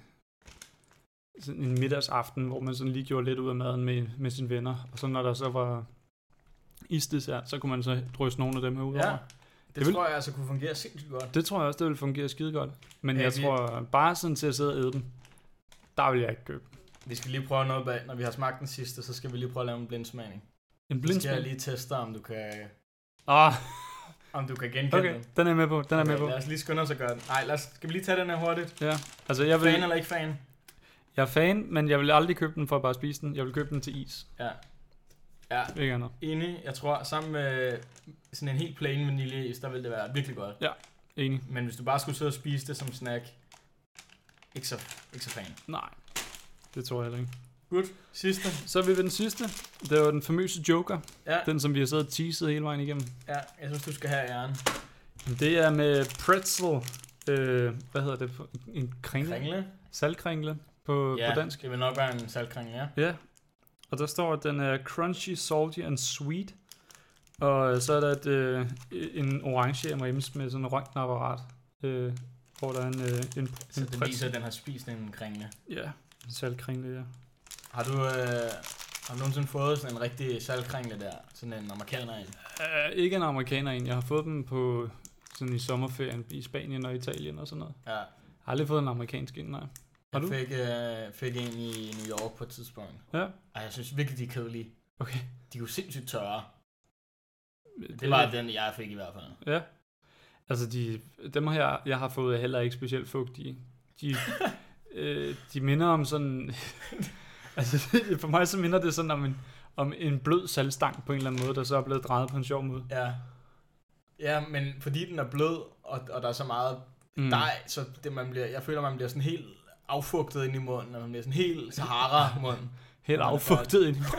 sådan en middagsaften, hvor man sådan lige gjorde lidt ud af maden med, med sine venner. Og så når der så var isdessert, så kunne man så drysse nogle af dem her ud
Ja,
over.
det, det
vil-
tror jeg altså kunne fungere sindssygt godt.
Det tror jeg også, det ville fungere skide godt. Men
Ja,
jeg
vi-
tror, bare sådan til at sidde og æde dem, der vil jeg ikke købe.
Vi skal lige prøve noget bag. Når vi har smagt den sidste, så skal vi lige prøve at lave en
En
blindsmagning. Så skal jeg
blindsmag.
lige teste dig, om du kan,
Ah,
om du kan genkende
okay,
den.
den er jeg med på, den er jeg med på.
Lad os lige skynde os at gøre den. Ej, lad os, skal vi lige tage den her hurtigt?
Altså, jeg, vil,
Fan eller ikke fan?
jeg er fan, men jeg vil aldrig købe den for at bare spise den. Jeg vil købe den til is.
Ja. Ja,
Ikke andet.
enig. Jeg tror, sammen med sådan en helt plain vaniljeis, der ville det være virkelig godt.
Enig.
Men hvis du bare skulle sidde og spise det som snack, ikke så, ikke så fan.
Nej, det tror jeg heller ikke.
Sidste.
Så er vi ved den sidste. Det var den famøse Joker.
Ja,
Den, som vi har siddet og teaset hele vejen igennem.
ja, jeg synes, du skal have æren.
Det er med pretzel. Øh, hvad hedder det? for- En kringle?
Kringle.
Saltkringle på,
Ja,
på dansk.
det vil nok være en saltkringle, ja.
Ja. Og der står, at den er crunchy, salty and sweet. Og så er der et, øh, en orange M&M's med sådan en røntgenapparat. Øh, hvor der er en, øh, en,
Så
en
den viser, at den har spist en kringle.
Ja, en saltkringle, ja.
Har du, øh, har du nogensinde fået sådan en rigtig saltkringle der? Sådan en amerikaner en?
Uh, ikke en amerikaner en. Jeg har fået dem på sådan i sommerferien i Spanien og Italien og sådan noget.
Ja.
Jeg har aldrig fået en amerikansk en, nej. Har
Jeg
du?
fik, øh, fik en i New York på et tidspunkt.
Ja.
Og jeg synes virkelig, de er kedelige.
Okay.
De er jo sindssygt tørre. Det var den, jeg fik i hvert fald.
Ja. Altså, de, dem her, jeg har fået, er heller ikke specielt fugtige. De, øh, de minder om sådan... altså, for mig så minder det sådan om en, om en blød salgstang på en eller anden måde, der så er blevet drejet på en sjov måde.
Ja. Ja, men fordi den er blød, og, og der er så meget mm. dej, så det, man bliver, jeg føler, man bliver sådan helt affugtet ind i munden, og man bliver sådan helt Sahara-mund.
Helt affugtet ind. i-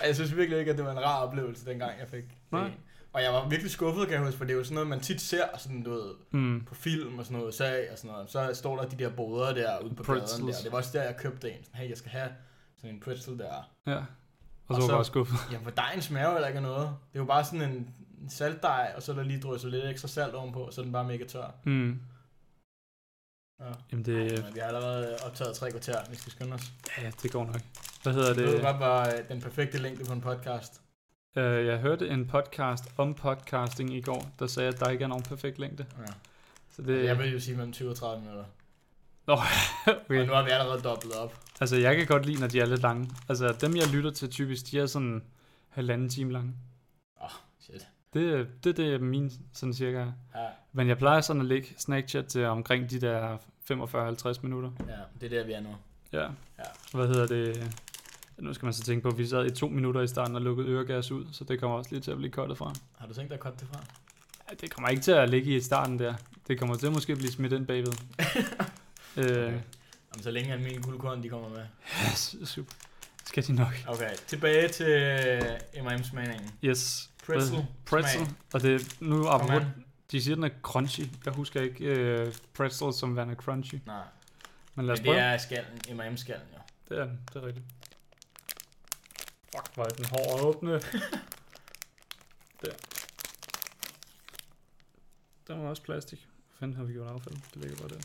og jeg synes virkelig ikke, at det var en rar oplevelse, dengang jeg fik
Nej.
det. Og jeg var virkelig skuffet, kan jeg huske, for det er jo sådan noget, man tit ser sådan, du ved,
Mm.
på film og sådan noget, USA og sådan noget, så står der de der boder der ude på
Pretzels.
gaden der. Det var også der, jeg købte en. Sådan, hey, jeg skal have sådan en pretzel der.
Ja. Og så
Og
var jeg
så-
bare skuffet.
Jamen, for dejen smager jo heller ikke af noget. Det er jo bare sådan en en saltdej, og så er der lige drysset lidt ekstra salt ovenpå, så er den bare mega tør.
Mm.
Ja.
Jamen, det,
Ej, men vi har allerede optaget tre kvarter, vi skal skynde os.
ja, det går nok. Hvad hedder
Det ved
det?
godt, var øh, den perfekte længde på en podcast.
Øh, jeg hørte en podcast om podcasting i går, der sagde, at der ikke er nogen perfekt længde.
Ja.
Så
Det...
det,
Jeg vil jo sige mellem 20 og 30 minutter. Okay. Og
okay.
nu har vi allerede dobblet op.
Altså, jeg kan godt lide, når de er lidt lange. Altså, dem jeg lytter til typisk, de er sådan halvanden time lange.
Shit.
Det, det, det er min sådan cirka. er.
Ja,
Men jeg plejer sådan at lægge Snapchat til omkring de der 45-50 minutter.
ja, det er der, vi er nu.
Ja.
Ja.
Hvad hedder det? Nu skal man så tænke på, at vi sad i to minutter i starten og lukkede øregas ud, så det kommer også lige til at blive kottet fra.
Har du tænkt dig at cutte det fra?
Ja, det kommer ikke til at ligge i starten der. Det kommer til at måske blive smidt ind bagved. øh,
Jamen, så længe almindelige guldkorn, de kommer med.
yes, super. Skal de nok.
Okay, tilbage til M&M's meningen.
Yes.
Pretzel.
Pretzel. Og det, nu
Kom
apropos
an.
De siger, den er crunchy. Jeg husker ikke øh, pretzel som værende crunchy.
Nej,
Men lad
men
os
det
prøve.
er skallen, M&M-skallen jo.
Det er den. Det er rigtigt. Fuck, hvor er den hård at åbne. der. Der var også plastik. Hvad fanden har vi gjort affald? Det ligger bare der. Hvad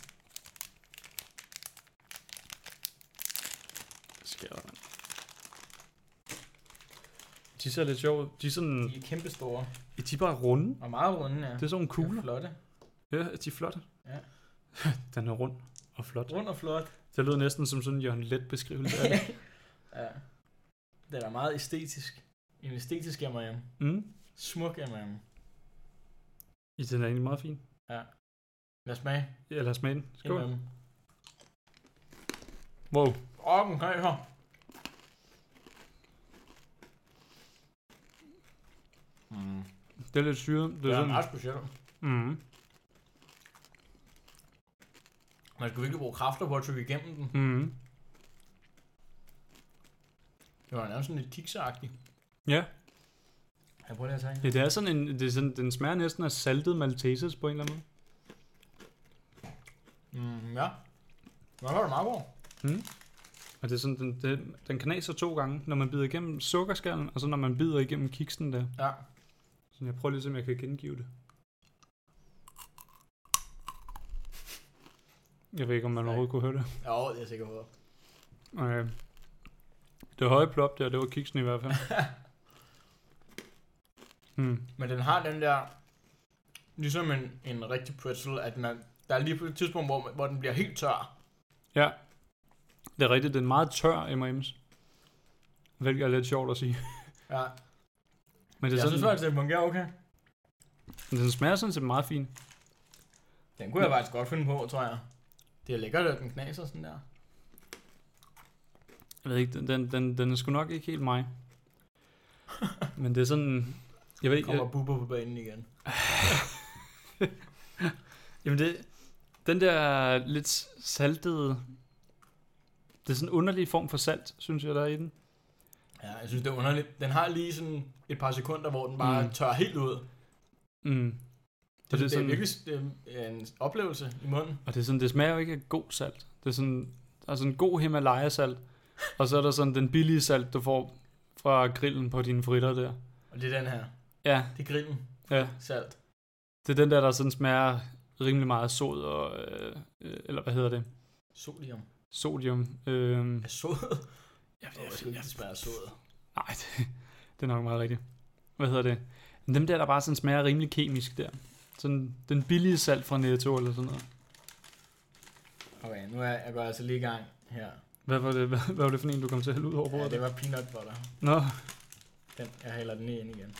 sker der, mand? De ser lidt sjovt ud. De er sådan...
De er kæmpe store
De er bare runde.
og meget runde, ja.
Mm. Det er sådan nogle kugler.
Ja, flotte.
Ja, de er flotte.
Ja.
Den er rund og flot.
Rund og flot.
Det lød næsten som sådan en Jørgen Let beskrivelse af det.
ja. Det er da meget æstetisk. En æstetisk M&M.
Mm.
Smuk M&M.
I den er egentlig meget fin.
Lad os smage.
Ja, lad os smage den. Skål.
M&M.
Wow.
Åh, den kan her. Mm.
Det er lidt syret. Det
Det
er
er
sådan.
meget specielt.
Mm.
Man skulle virkelig bruge kræfter på at trykke igennem den.
Mm.
Det var nærmest sådan lidt kikseagtigt.
Ja.
Jeg prøver lige at tage en.
Ja, det er sådan en, det er sådan, den smager næsten af saltet Maltesers på en eller anden måde.
Mm, ja. Nå, var det meget god.
Mm. Og det er sådan, den, den, den knaser to gange, når man bider igennem sukkerskallen, og så når man bider igennem kiksen der.
Ja.
Så jeg prøver lige at se, om jeg kan gengive det. Jeg ved ikke, om man
Nej.
overhovedet kunne høre det.
Jo, det er sikkert på.
Okay. Det høje plop der, det var kiksen i hvert fald. mm.
Men den har den der, ligesom en, en rigtig pretzel, at man, der er lige på et tidspunkt, hvor, hvor den bliver helt tør.
Ja. Det er rigtigt, den er meget tør M&M's. Hvilket er lidt sjovt at sige.
Ja.
Men det
Jeg
er sådan,
synes faktisk, det fungerer okay.
men den smager sådan set meget fint.
Den kunne jeg faktisk godt finde på, tror jeg. Det er lækkert, at den knaser sådan der.
Jeg ved ikke, den- den, den, den er sgu nok ikke helt mig. Men det er sådan... Jeg ved ikke,
Kommer
jeg,
Bubber på banen igen.
jamen det, den der lidt saltede... Det er sådan en underlig form for salt, synes jeg, der er i den.
Ja, jeg synes, det er underligt. Den har lige sådan et par sekunder, hvor den bare
Mm.
mm. tør helt ud.
Mm.
Det, det,
er
det er
sådan-
virkelig det er en oplevelse i munden.
Og det, er sådan, det smager jo ikke af god salt. Det er sådan, der er sådan god Himalaya-salt, og så er der sådan den billige salt, du får fra grillen på dine fritter der.
Og det er den her.
Ja,
Det er grillen.
ja.
Salt.
Det er den der, der sådan smager rimelig meget af sod og... Øh, øh, eller hvad hedder det?
Sodium.
Sodium. Øh,
Er sod?
jeg,
Jeg ved ikke, det smager af sod.
Nej, det, det er nok meget rigtigt. Hvad hedder det? Men Dem der, der bare sådan smager rimelig kemisk der. Sådan den billige salt fra Netto eller sådan noget.
Okay, nu er jeg går altså lige i gang her.
Hvad var det, hvad, hvad var det for en, du kom til at hælde ud over
Ja,
bordet?
det var peanut butter.
Nå,
Den, jeg hælder den lige ind igen.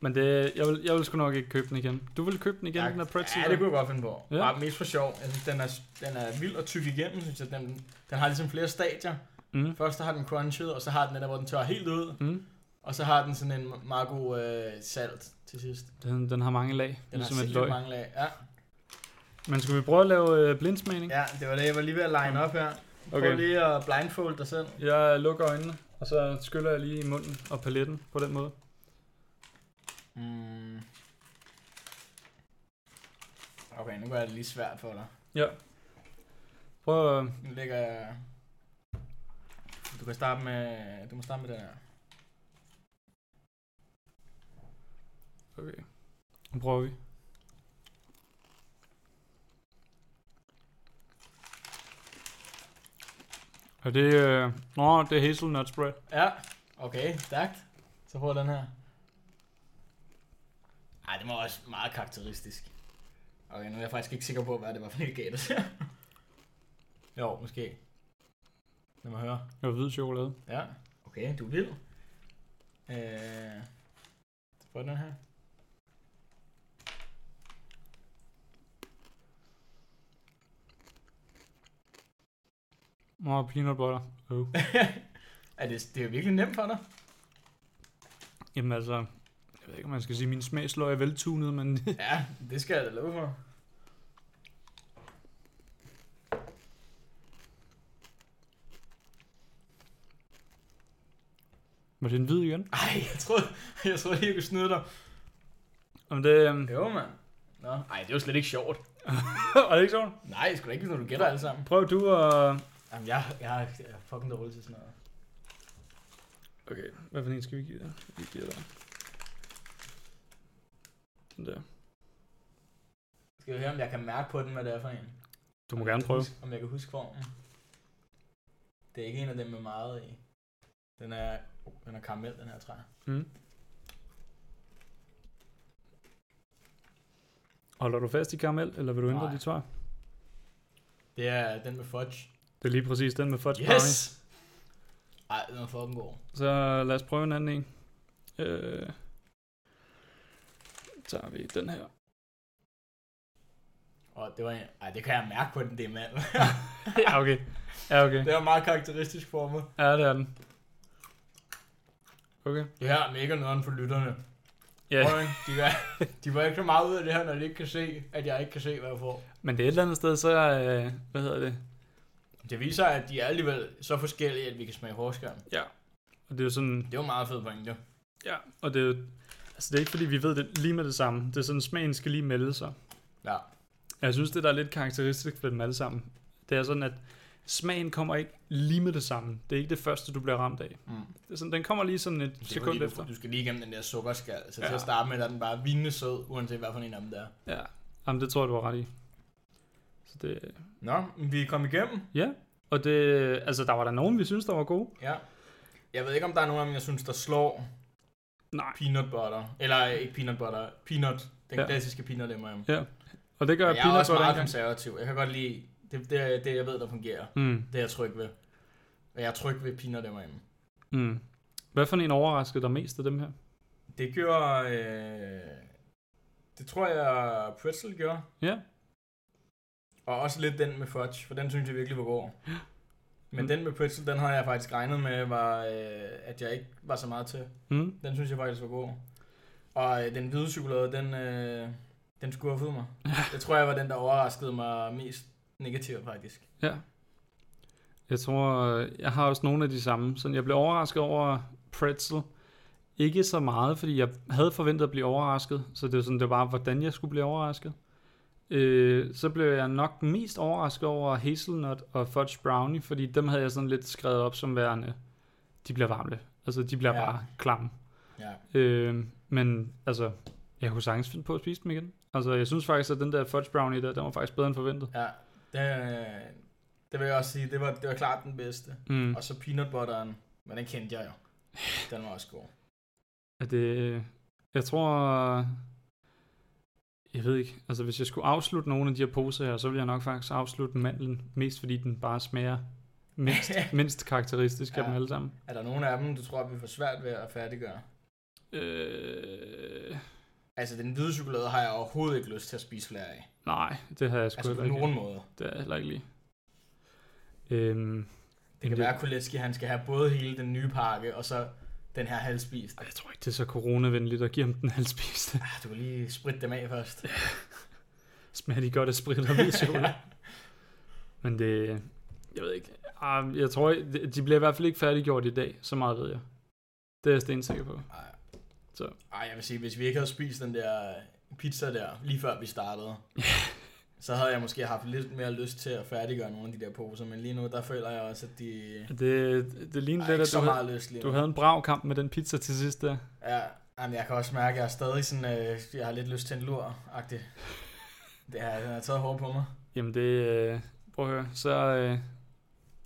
men det, jeg, vil, jeg vil sgu nok ikke købe den igen. Du vil købe den igen,
jeg,
den der pretzel?
Ja,
der?
det kunne jeg godt finde på.
Ja.
Ja. Bare mest for sjov. Jeg synes, den er, den er vild og tyk igennem, synes jeg. Den, den har ligesom flere stadier.
Mm.
Først der har den crunchet, og så har den den der, hvor den tør helt ud.
Mm.
Og så har den sådan en meget god øh, salt til sidst.
Den, den har mange lag, den
Den har
ligesom et
sindssygt
løg.
mange lag. Ja.
Men skal vi prøve at lave øh, blindsmagning?
ja, det var det, jeg var lige ved at
Mm.
line op her. Okay. Prøv lige at blindfold dig selv.
Jeg lukker øjnene, og så skyller jeg lige i munden og paletten på den måde.
Mm. Okay, nu gør jeg det lige svært for dig.
Ja. Prøv at...
Nu lægger jeg... Du kan starte med... Du må starte med den her.
Okay. Nu prøver vi. Og det... Øh... Nå, det er hazelnut spread.
Ja, okay, stærkt. Så prøv den her. Ej, det var også meget karakteristisk. Okay, nu er jeg faktisk ikke sikker på, hvad det var for en gæt. jo, måske. Lad mig høre.
Og hvid chokolade.
Ja, okay, du vil. Øh, så prøv den her.
Nå, peanut butter. Oh.
er det, det er jo virkelig nemt for dig.
Jamen altså... Jeg ved ikke, om man skal sige, at min smagsløg er veltunet, men...
Ja, det skal jeg da love for.
Var det en hvid igen?
Ej, jeg troede, jeg troede lige, jeg kunne snyde dig.
Jamen det... Øh...
Jo, mand. Nå, ej, det er jo slet ikke sjovt.
er det ikke sjovt?
Nej, det skulle da ikke, når du gætter alle sammen.
Prøv du at...
Jamen, jeg, jeg, er- jeg er fucking dårlig til sådan noget.
Okay, hvad for en skal vi give dig? Vi giver dig. Den der.
Skal vi høre, om jeg kan mærke på den, hvad det er for en?
Du må
Om
gerne
jeg kan
prøve.
Huske, om jeg kan huske formen. Det er ikke en af dem med meget i. Den er, oh, den er karamel, den her, tror jeg.
Mm. Holder du fast i karamel, eller vil du ændre
Nej.
dit svar?
Det er den med fudge.
Det er lige præcis den med fudge brownie.
Yes! Ej, den er fucking god.
Så lad os prøve en anden en. Øh, tager vi den her.
Og det var en, ej, det kan jeg mærke på den, det er mand.
Ja, okay. Ja, okay.
det er meget karakteristisk for mig.
Ja, det er den. Okay.
Det her er mega nødderen for lytterne.
Ja,
Prøv, ikke? de, var, de var ikke så meget ud af det her, når de ikke kan se, at jeg ikke kan se, hvad jeg får.
men det er et eller andet sted, så... Øh, hvad hedder det?
Det viser, at de er alligevel så forskellige, at vi kan smage forskel.
Og det er jo sådan...
Det var meget fedt pointe.
Ja, og det, er jo- altså det er ikke fordi, vi ved det lige med det samme. Det er sådan, smagen skal lige melde sig.
Ja.
Jeg synes, det der er lidt karakteristisk for dem alle sammen, det er sådan, at smagen kommer ikke lige med det samme. Det er ikke det første, du bliver ramt af.
Mm.
Det er sådan, den kommer lige sådan et
Det er
sekund
fordi,
efter.
du, du skal lige igennem den der sukkerskal, så ja.
Ja.
til at starte med er den bare vindende sød, uanset hvad for en af dem der er.
Ja, Jamen, det tror jeg, du har ret i. Så det,
Nå, men vi er kommet igennem.
ja, og det, altså der var der nogen, vi synes, der var gode.
Ja. Jeg ved ikke, om der er nogen af dem, jeg synes, der slår
Nej.
peanut butter. Eller øh, ikke peanut butter, peanut. Den
Ja.
ja. klassiske peanut M&M.
Og det gør
Jeg, jeg er også
butter
meget
ikke engang-
konservativ. Jeg kan godt lide det, det, er- det, jeg ved, der fungerer.
Mm,
Det er jeg tryg ved. Og jeg er tryg ved peanut M&M.
mm. Hvad for en overraskede dig mest af dem her?
Det gjorde... Øh, det tror jeg, Pretzel gjorde.
Ja.
Og også lidt den med fudge, for den synes jeg virkelig var god. Men
Mm.
den med pretzel, den havde jeg faktisk regnet med, var, øh, at jeg ikke var så meget til.
Mm.
Den synes jeg faktisk var god. Og øh, den hvide chokolade, den, øh, den skuffede mig. Det tror jeg var den, der overraskede mig mest negativt faktisk.
Ja. Jeg tror, øh, jeg har også nogle af de samme. Sådan, jeg blev overrasket over pretzel. Ikke så meget, fordi jeg havde forventet at blive overrasket. Så det var sådan, det var, hvordan jeg skulle blive overrasket. Øh, så blev jeg nok mest overrasket over hazelnut og fudge brownie, fordi dem havde jeg sådan lidt skrevet op som værende. De bliver varme. Altså, de bliver ja.
Ja.
bare klamme.
Ja.
Øh, men altså, jeg kunne sagtens finde på at spise dem igen. Altså, jeg synes faktisk, at den der fudge brownie der, den var faktisk bedre end forventet.
Ja, det, øh, det vil jeg også sige, det var, det var klart den bedste.
Mm.
Og så peanut butteren, men den kendte jeg jo. Den var også god.
Er det... øh, Jeg tror... Jeg ved ikke. Altså, hvis jeg skulle afslutte nogle af de her poser her, så ville jeg nok faktisk afslutte mandlen. Mest fordi den bare smager mindst, mindst karakteristisk ja. af
Ja.
dem alle sammen.
er der nogen af dem, du tror, vi får svært ved at færdiggøre?
Øh...
Altså, den hvide chokolade har jeg overhovedet ikke lyst til at spise flere af.
Nej, det havde jeg sgu
Altså,
altså,
på
heller ikke.
nogen måde.
Det er jeg heller ikke lige. Øhm,
Det kan
Det-
være, at Kuleski, han skal have både hele den nye pakke, og så den her halvspist.
og jeg tror ikke, det er så coronavenligt at give ham den halvspiste.
Ah, du kan lige spritte dem af først.
Smager de godt af sprit og hvid chokolade. Men det... Jeg ved ikke. Ah, Jeg tror, ikke- de bliver i hvert fald ikke færdiggjort i dag. Så meget ved jeg. Det er jeg stensikker på.
Ej.
Så.
Ej, jeg vil sige, hvis vi ikke havde spist den der pizza der, lige før vi startede, så havde jeg måske haft lidt mere lyst til at færdiggøre nogle af de der poser, men lige nu, der føler jeg også, at de
Det, det ligner
har
lidt,
ikke
at
så
du, havde,
meget øh, lyst lige
du
nu.
havde en brav kamp med den pizza til sidst der.
Ja, jamen, jeg kan også mærke, at jeg er stadig sådan, øh, jeg har lidt lyst til en lur-agtig. Det har, den har taget hårdt på mig.
Jamen det, øh, prøv at høre, så, øh,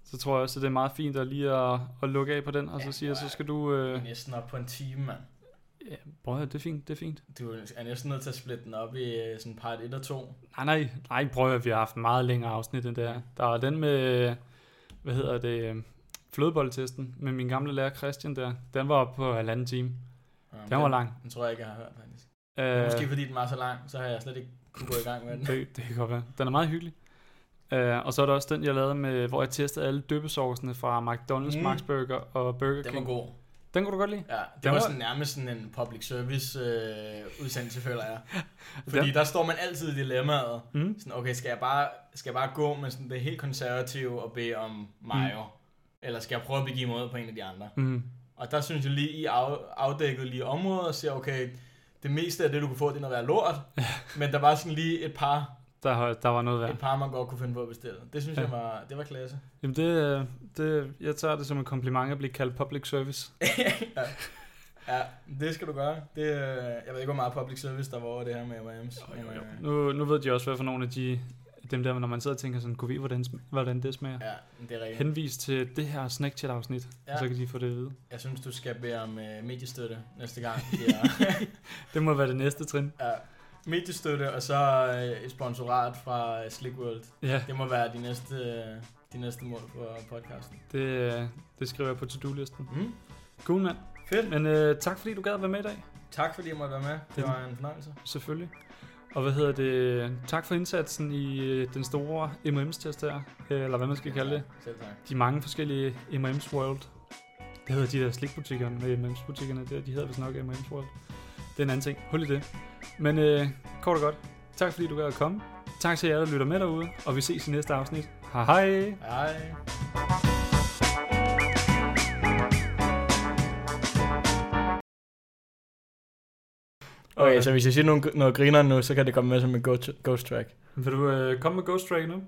så tror jeg også, at det er meget fint at lige at, at lukke af på den, og så
Ja,
siger jeg, så
nej.
skal du...
Jeg
Øh,
er næsten op på en time, mand.
ja, prøv at høre, det er fint, det er fint.
Du er næsten nødt til at splitte den op i øh, sådan part 1 og 2.
Nej, nej, nej, prøv at høre, vi har haft meget længere afsnit end det her. Der var den med, øh, hvad hedder det, øh, flødeboldtesten med min gamle lærer Christian der. Den var oppe på halvanden time.
Ja,
Den var lang.
Den tror jeg ikke, jeg har hørt, faktisk.
Øh,
Øh... Måske fordi den var så lang, så har jeg slet ikke kunne gå i gang med den.
Det, det kan godt være. Den er meget hyggelig. Uh, og så er der også den, jeg lavede med, hvor jeg testede alle døbesaucerne fra McDonald's, mm.
Mm.
Max Burger og Burger
Den
King.
var god.
Den kunne du godt lide?
Ja, det
Den
var
var-
sådan nærmest sådan en public service øh, udsendelse, føler jeg. Fordi
Den-
der står man altid i dilemmaet.
Mm.
Sådan, okay, skal jeg bare, skal jeg bare gå med sådan det helt konservative og bede om mayo? Mm. Eller skal jeg prøve at begive mig ud på en af de andre?
Mm.
Og der synes jeg lige, I af, afdækkede lige området og siger, okay, det meste af det, du kunne få, det er noget værd lort. men der var sådan lige et par,
Der, har- der var noget
ja.
værd.
et par, man godt kunne finde på at bestille. Det synes
Ja.
ja. jeg var, det var klasse.
Jamen det, øh, det, jeg tager det som en kompliment at blive kaldt public service.
ja. ja, det skal du gøre. Det, øh, jeg ved ikke, hvor meget public service der var over det her med M&M's. men, øh,
Nu, nu ved de også, hvad for nogle af de, dem der, når man sidder og tænker sådan, kunne vi, hvordan, sm- hvordan det smager?
Ja, det er rigtigt.
Henvis til det her snack chat afsnit, ja.
Ja.
så kan de få det at vide.
Jeg synes, du skal bede om øh, mediestøtte næste gang. Ja.
Det må være det næste trin.
ja. Mediestøtte, og så øh, et sponsorat fra øh, Slick World.
Ja,
Det må være de næste, øh, de næste mål for podcasten.
det, øh, det skriver jeg på to-do-listen.
Mm.
Cool, mand.
Fedt.
Men øh, tak fordi du gad at være med i dag.
Tak fordi jeg måtte være med.
Det-
Det var en fornøjelse.
Selvfølgelig. Og hvad hedder det? Tak for indsatsen i øh, den store M&M's-test her. øh, Eller hvad man skal kalde det.
Selv tak.
De mange forskellige M&M's World. Det hedder de der slikbutikker med M&M's-butikkerne der. De hedder vist nok M&M's World. Det er en anden ting. Hul i det. Men øh, kort og godt. Tak fordi du gad at komme. Tak til jer, der lytter med derude. Og vi ses i næste afsnit. Hej hej!
Hej. Okay, så hvis jeg siger nogen, noget griner nu, så kan det komme med som en ghost, ghost track.
Vil du øh, komme med Ghost Track nu?